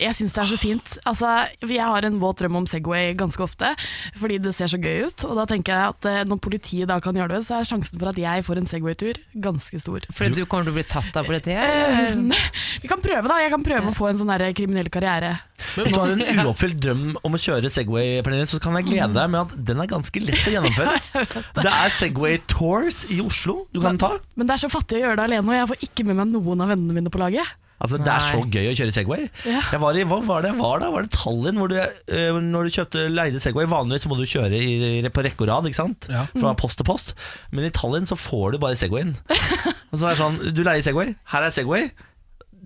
Jeg syns det er så fint. Altså, jeg har en våt drøm om Segway ganske ofte, fordi det ser så gøy ut. Og da tenker jeg at eh, når politiet da kan gjøre det, så er sjansen for at jeg får en Segway-tur, ganske stor. Fordi du kommer til å bli tatt av politiet? Eh, eller? Vi kan prøve, da. Jeg kan prøve å få en sånn der kriminell karriere. Hvis du har en uoppfylt drøm om å kjøre Segway, Pernille, så kan jeg Mm. glede deg med at den er ganske lett å gjennomføre. Det er Segway Tours i Oslo du kan ta. Men det er så fattig å gjøre det alene, og jeg får ikke med meg noen av vennene mine på laget. Altså, det er så gøy å kjøre Segway. Ja. Jeg var i, hva var det jeg var da? Var det Tallinn? Hvor du, eh, når du kjøpte leide Segway, vanligvis må du kjøre i, på rekke og rad, ikke sant? Ja. Mm. Fra post til post. Men i Tallinn så får du bare Segwayen. Og så er det sånn, du leier Segway, her er Segway,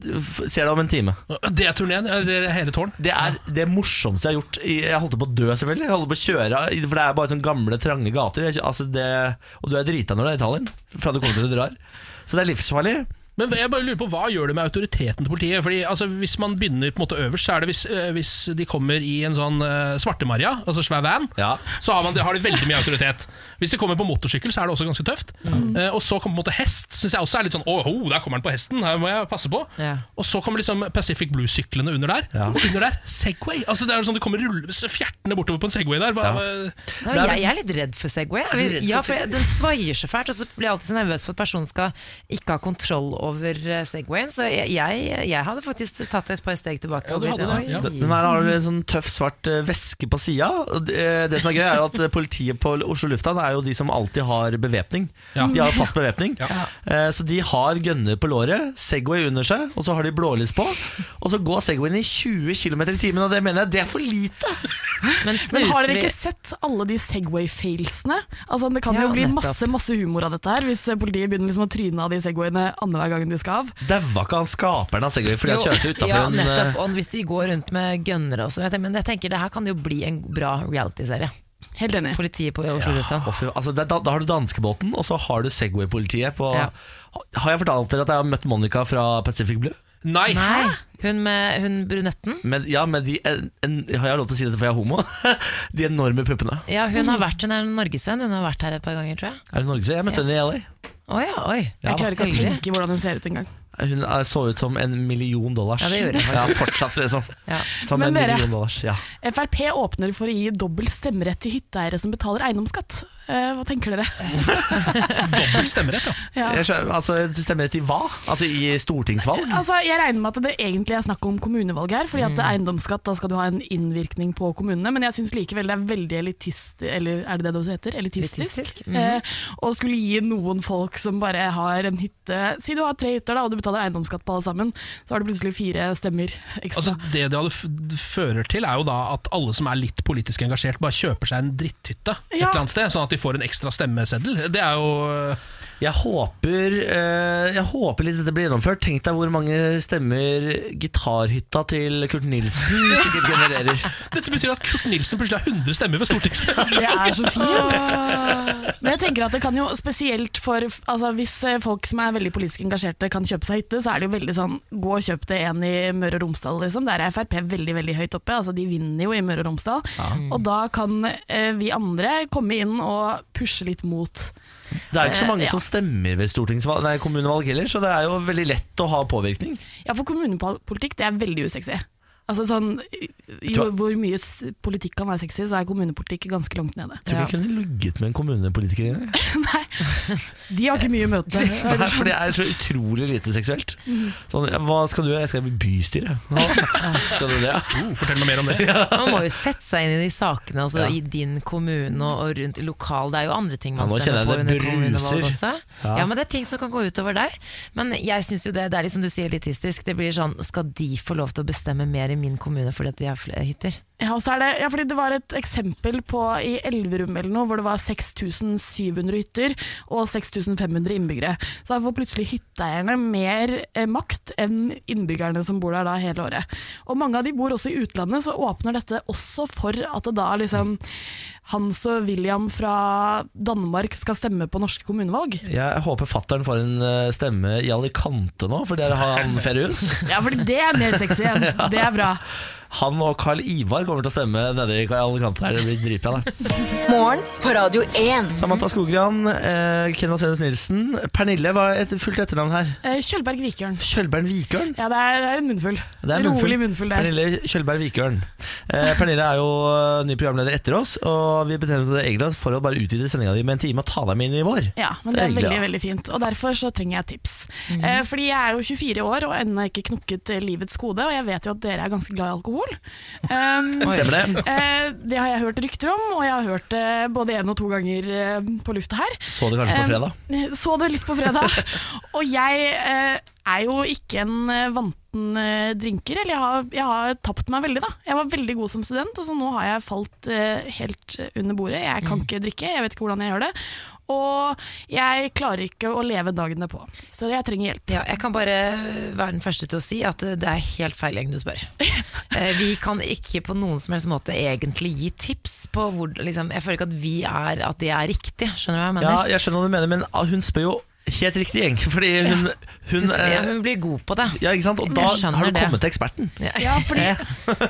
Du f- ser deg om en time. Det er turneen, eh, det er hele tårn. Det er det morsomste jeg har gjort. i- Jeg holdt på å dø, selvfølgelig. Jeg holdt på å kjøre, i- for det er bare sånne gamle, trange gater. Jeg- Altså det, og du er drita når du er i Tallinn, fra du kommer til du drar. Så det er livsfarlig. Men jeg bare lurer på, Hva gjør det med autoriteten til politiet? Fordi altså, Hvis man begynner på en måte øverst, så er det hvis, eh, hvis de kommer i en sånn eh, svartemarja, altså svær van, Ja. så har, man, har de veldig mye autoritet. Hvis de kommer på motorsykkel, så er det også ganske tøft. Eh, og så kommer på en måte hest, syns jeg også er litt sånn Å, ho, der kommer han på hesten, her må jeg passe på. Ja. Og så kommer liksom Pacific Blue-syklene under der. Og under der Segway! Altså Det er jo sånn det kommer rulle, fjertende bortover på en Segway der. Hva, Nei, Det er- jeg, jeg er litt redd for Segway. du redd for Ja, for jeg- Den svaier så fælt, og så blir jeg alltid så nervøs for at personen skal ikke ha kontroll over eh, Segwayen, så jeg, jeg, jeg hadde faktisk tatt et par steg tilbake. Ja, du og blitt- sånn, hadde det, ja. Oi. Den her har en sånn tøff, svart eh, veske på sida. Det, eh, det som er gøy, er jo at politiet på Oslo lufthavn er jo de som alltid har bevæpning. Ja. De har jo fast bevæpning. Eh, Så de har gønner på låret, Segway under seg, og så har de blålys på. Og så går Segwayen i 20 km i timen, og det mener jeg det er for lite! Men Men har snuser dere vi ikke sett alle de Segway-failsene? Altså, det kan Ja, jo bli nettopp. masse masse humor av dette her, hvis eh, politiet begynner liksom å tryne av de Segwayene annenhver gang de skal av. Daua ikke han skaperen av Segway fordi han Jo, kjørte utafor ja, en nettopp, eh, og Hvis de går rundt med gønnere også. Jeg tenker, men jeg tenker det her kan jo bli en bra reality-serie. Helt enig. Politiet på Oslo lufthavn. å, fy- altså, det, da, da har du danskebåten, og så har du Segway-politiet på Ja. Har jeg fortalt dere at jeg har møtt Monica fra Pacific Blue? Nei! Nei, hun med hun brunetten. Men, ja, men de, en, en, har jeg lov til å si dette for jeg er homo? De enorme puppene. Ja, hun har vært, hun er en norgesvenn. Hun har vært her et par ganger, tror jeg. Er det Norge? Jeg møtte henne i LA. Å ja, oi. Jeg klarer ikke å Heldig. tenke hvordan hun ser ut engang. Hun er- så ut som en million dollars. Ja, det gjorde hun Ja, fortsatt, liksom. Ja. Som Men en dere- million dollars. Ja. Frp åpner for å gi dobbel stemmerett til hytteeiere som betaler eiendomsskatt. Eh, hva tenker dere? Dobbelt stemmerett, ja. Ja. Jeg skjønner, altså, du stemmer til hva? Altså i stortingsvalg? Altså, jeg regner med at det egentlig er snakk om kommunevalg her, fordi at eiendomsskatt, da skal du ha en innvirkning på kommunene, men jeg syns likevel det er veldig elitist, eller er det det det heter? Elitistisk. Elitistisk, eh, å skulle gi noen folk som bare har en hytte Si du har tre hytter da, og du betaler eiendomsskatt på alle sammen, så har du plutselig fire stemmer ekstra. Altså, det det hadde f- fører til, er jo da at alle som er litt politisk engasjert, bare kjøper seg en dritthytte et Ja. eller annet sted, sånn at de får en ekstra stemmeseddel. Det er jo Jeg håper, eh, jeg håper litt dette blir gjennomført. Tenk deg hvor mange stemmer gitarhytta til Kurt Nilsen sikkert genererer. Dette betyr at Kurt Nilsen plutselig har 100 stemmer ved Stortinget. Det er så fint. Men jeg tenker at det kan jo spesielt for altså Hvis eh, folk som er veldig politisk engasjerte kan kjøpe seg hytte, så er det jo veldig sånn gå og kjøp det en i Møre og Romsdal, liksom. Der er Frp veldig veldig høyt oppe. Altså De vinner jo i Møre og Romsdal. Og da kan eh, vi andre komme inn og pushe litt mot. Det er jo ikke så mange Eh, ja. som stemmer ved stortingsvalg, nei, kommunevalg heller, så det er jo veldig lett å ha påvirkning. Ja, for kommunepolitikk det er veldig usexy. Altså sånn, jo, Tror- Hvor mye s- politikk kan være sexy, så er kommunepolitikk ganske langt nede. Tror du jeg kunne ligget med en kommunepolitiker? eller? De har ikke mye møte. Nei, for det er så utrolig lite seksuelt. Sånn, ja, hva skal du gjøre? Jeg skal i bystyret. Nå, Skal du det? Fortell meg mer om det. Man må jo sette seg inn i de sakene altså, i din kommune og, og rundt lokal. Det er jo andre ting man Ja, nå stemmer på kjenner jeg det under kommunevalg bruser. også. Ja. Ja. men det er ting som kan gå utover deg. Men jeg syns jo det, det er liksom du sier elitistisk. Det blir sånn, skal de få lov til å bestemme mer i min kommune fordi at de har flere hytter? Ja, og så er det, ja, fordi det var et eksempel på i Elverum eller noe, hvor det var 6700 hytter og 6500 innbyggere. Så da får plutselig hytteeierne mer eh, makt enn innbyggerne som bor der da hele året. Og mange av de bor også i utlandet, så åpner dette også for at det da liksom Hans og William fra Danmark skal stemme på norske kommunevalg. Jeg håper fattern får en eh, stemme i Alicante nå, for dere har han feriehus. Ja, for det er mer sexy enn det er bra. Han og Carl Ivar kommer til å stemme nede i Alicante her. Det blir dritbra. det. Morgen på Radio 1. Samantha Skogran, eh, Kenneth Senes Nilsen. Pernille, hva er et fullt etternavn her? Eh, Kjølberg Vikørn. Kjølbern Vikørn? Ja, det er, det er en munnfull. Det er Rolig munnfull der. Pernille Kjølberg Vikørn. Eh, Pernille er jo eh, ny programleder etter oss, og vi bestemte oss egentlig for å bare utvide sendinga di med en time og ta deg med inn i vår. Ja, men Det er det er hyggelig, veldig ja. veldig fint. Og derfor så trenger jeg tips. Eh, fordi jeg er jo 24 år og ennå ikke knokket eh, livets kode, og jeg vet jo at dere er ganske glad i alkohol. Um, Stemmer det? eh, det har jeg hørt rykter om, og jeg har hørt det både én og to ganger eh, på lufta her. Så det kanskje på fredag? Eh, Så det litt på fredag. Og jeg eh, er jo ikke en eh, vanten eh, drinker, eller jeg har, jeg har tapt meg veldig, da. Jeg var veldig god som student, og så nå har jeg falt eh, helt under bordet. Jeg kan ikke drikke, jeg vet ikke hvordan jeg gjør det. Og jeg klarer ikke å leve dagene på, så jeg trenger hjelp. Ja, jeg kan bare være den første til å si at eh, det er helt feil gjeng du spør. Eh, Vi kan ikke på noen som helst måte egentlig gi tips på hvor liksom, Jeg føler ikke at vi er at det er riktig, skjønner du hva jeg Ja, mener? jeg skjønner hva du mener, men ah, hun spør jo helt riktig gjeng. Fordi hun, hun, Hun, sp- ja, eh, hun blir god på det. ja, ikke sant? Og Jeg da skjønner har du det. kommet til eksperten. Ja, fordi Ja,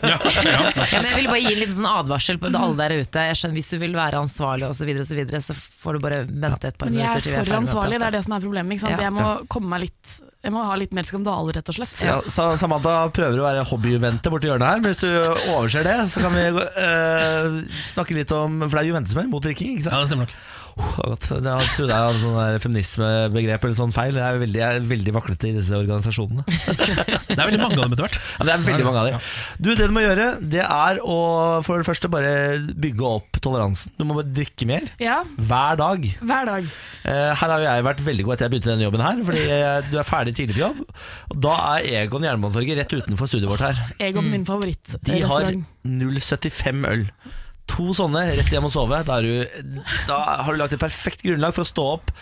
ja. Ja, men jeg vil bare gi en liten sånn advarsel på alle der ute. Jeg skjønner, Hvis du vil være ansvarlig osv., så, videre, og så, videre, så får du bare vente et par Men jeg minutter. er til vi for ferdig med å ansvarlig, det prate. er det som er problemet. Ikke sant? Ja. Jeg må komme meg litt Jeg må ha litt mer skandaler, rett og slett. Ja, Sa- Samantha prøver å være hobby-juvente borti hjørnet her, men hvis du overser det, så kan vi gå- eh, snakke litt om For det er juvente som er mot drikking, ikke ja, sant? det stemmer nok. Oh, det var godt. Det var- trodde jeg hadde sånn der feminismebegrep eller sånn feil. Det er veldig, jeg er veldig vaklete i disse organisasjonene. Det er veldig mange av dem etter hvert. Ja, det er veldig mange av dem. Du, det du må gjøre, det er å for det første bare bygge opp toleransen. Du må bare drikke mer. Ja, Hver dag. hver dag. Eh, Her har jo jeg vært veldig god etter jeg begynte denne jobben her, fordi eh, du er ferdig tidlig på jobb. Og da er Egon Jernbanetorget rett utenfor studioet vårt her. Egon, min favorittrestaurant. De har 0,75 øl. To sånne rett hjem og sove. Da, er du, da har du lagt et perfekt grunnlag for å stå opp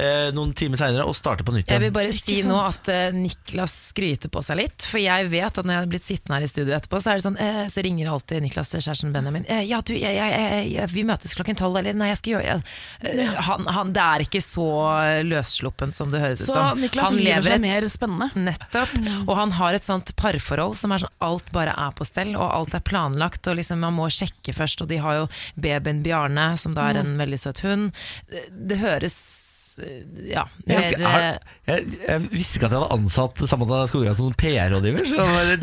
eh, noen timer seinere og starte på nytt Jeg vil igjen. bare si sant? nå at eh, Niklas skryter på seg litt. For jeg vet at når jeg hadde blitt sittende her i studio etterpå, så, er det sånn, eh, så ringer alltid Niklas kjæresten Benjamin. Eh, ja, du, jeg, jeg, jeg, jeg, vi møtes klokken tolv, eller nei, jeg skal gjøre jeg, eh, han, han, Det er ikke så løssluppent som det høres ut Så som. Niklas han lever seg et- mer spennende. Nettopp. Mm. Og han har et sånt parforhold som er sånn alt bare er på stell, og alt er planlagt, og liksom man må sjekke først, og de har jo babyen Bjarne, som da er en Mm. veldig søt hund. Det, det høres eh, ja, Jeg, mer, eh, jeg, jeg, jeg visste ikke at jeg hadde ansatt Samantha Skogran som PR-rådgiver, så jeg må bare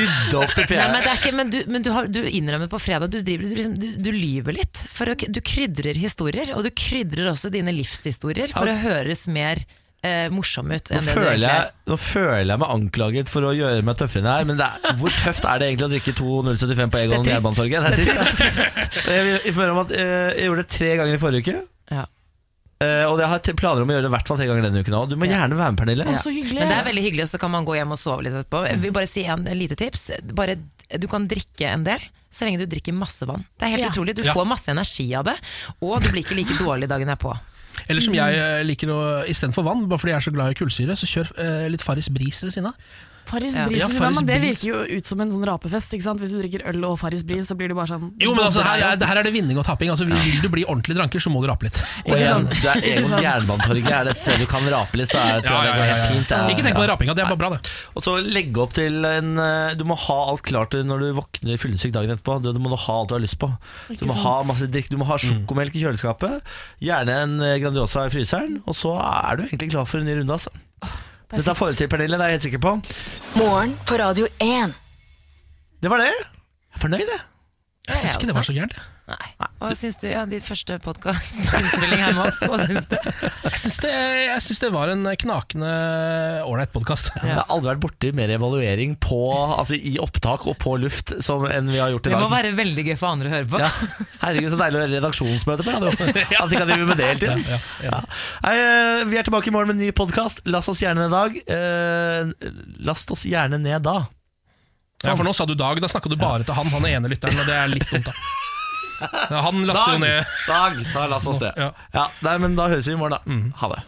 rydde opp i PR. Nei, men, det er ikke, men, du, men du, har, du innrømmer på fredag Du, driver, du, liksom, du, du lyver litt. For å, du krydrer historier, og du krydrer også dine livshistorier for å høres mer eh, morsom ut. Nå enn det du føler, egentlig er. jeg, nå føler jeg meg anklaget for å gjøre meg tøffere enn jeg er, men det er, hvor tøft er det egentlig å drikke 2,075 på Egon Det er trist. Jernbanetorget? Det er trist. Jeg vil informere om at eh, jeg gjorde det tre ganger i forrige uke, Ja. eh, og jeg har t- planer om å gjøre det i hvert fall tre ganger denne uken òg. Du må gjerne være med, Pernille. Å, så hyggelig. Men det er veldig hyggelig, og så kan man gå hjem og sove litt etterpå. Jeg vil bare si en, en lite tips. Bare, du kan drikke en del, så lenge du drikker masse vann. Det er helt Ja. utrolig. Du får masse energi av det, og du blir ikke like dårlig dagen er på. Eller som jeg eh, liker å istedenfor vann, bare fordi jeg er så glad i kullsyre, så kjør eh, litt Farris Bris ved siden av. Farris Ja. Bris, Ja, liksom, Farris men det Bris. virker jo ut som en sånn rapefest. ikke sant? Hvis du drikker øl og Farris Bris, så blir det bare sånn Jo, men altså, her, er, her er det vinning og tapping. Altså, vil, vil du bli ordentlig dranker, så må du rape litt. Og igjen, det er Egon Jernbanetorget. Er det et sted du kan rape litt, så er det, tror jeg det går helt fint. det er- Ikke tenk ja. på den rapinga, det er bare bra, det. Og så legge opp til en eh, Du må ha alt klart til når du våkner fyllesyk dagen etterpå. Du, du må ha alt du har lyst på. Du må sant? ha, masse drikk, du må ha sjokomelk i kjøleskapet, gjerne en eh, Grandiosa i fryseren, og så er du egentlig klar for en ny runde. Altså. Dette får du til, Pernille, det er jeg helt sikker på. Morgen på Radio 1. Det var det. Jeg er fornøyd, jeg. Jeg syns ikke det var så gærent. Nei. Hva syns du? Ja, din første podkastinnspilling her med oss, hva syns du? Jeg syns det, jeg syns det var en knakende ålreit podkast. Jeg har aldri vært borti mer evaluering på, altså, i opptak og på luft som enn vi har gjort i Det må dag. være veldig gøy for andre å høre på. Ja. Herregud, så deilig å høre redaksjonsmøte på radio. At de kan drive med det hele tiden. Ja, Ja. Nei, eh, vi er tilbake i morgen med en ny podkast. Last oss gjerne ned dag. Eh, last oss gjerne ned da. Ja, for nå sa du Dag, da snakka du bare til han, han ene lytteren, og det er litt dumt, da. Ja, Han laster jo ned dag, da last oss det. Ja. Mm. Ja, nei, men da høres vi i morgen, da. Ha det.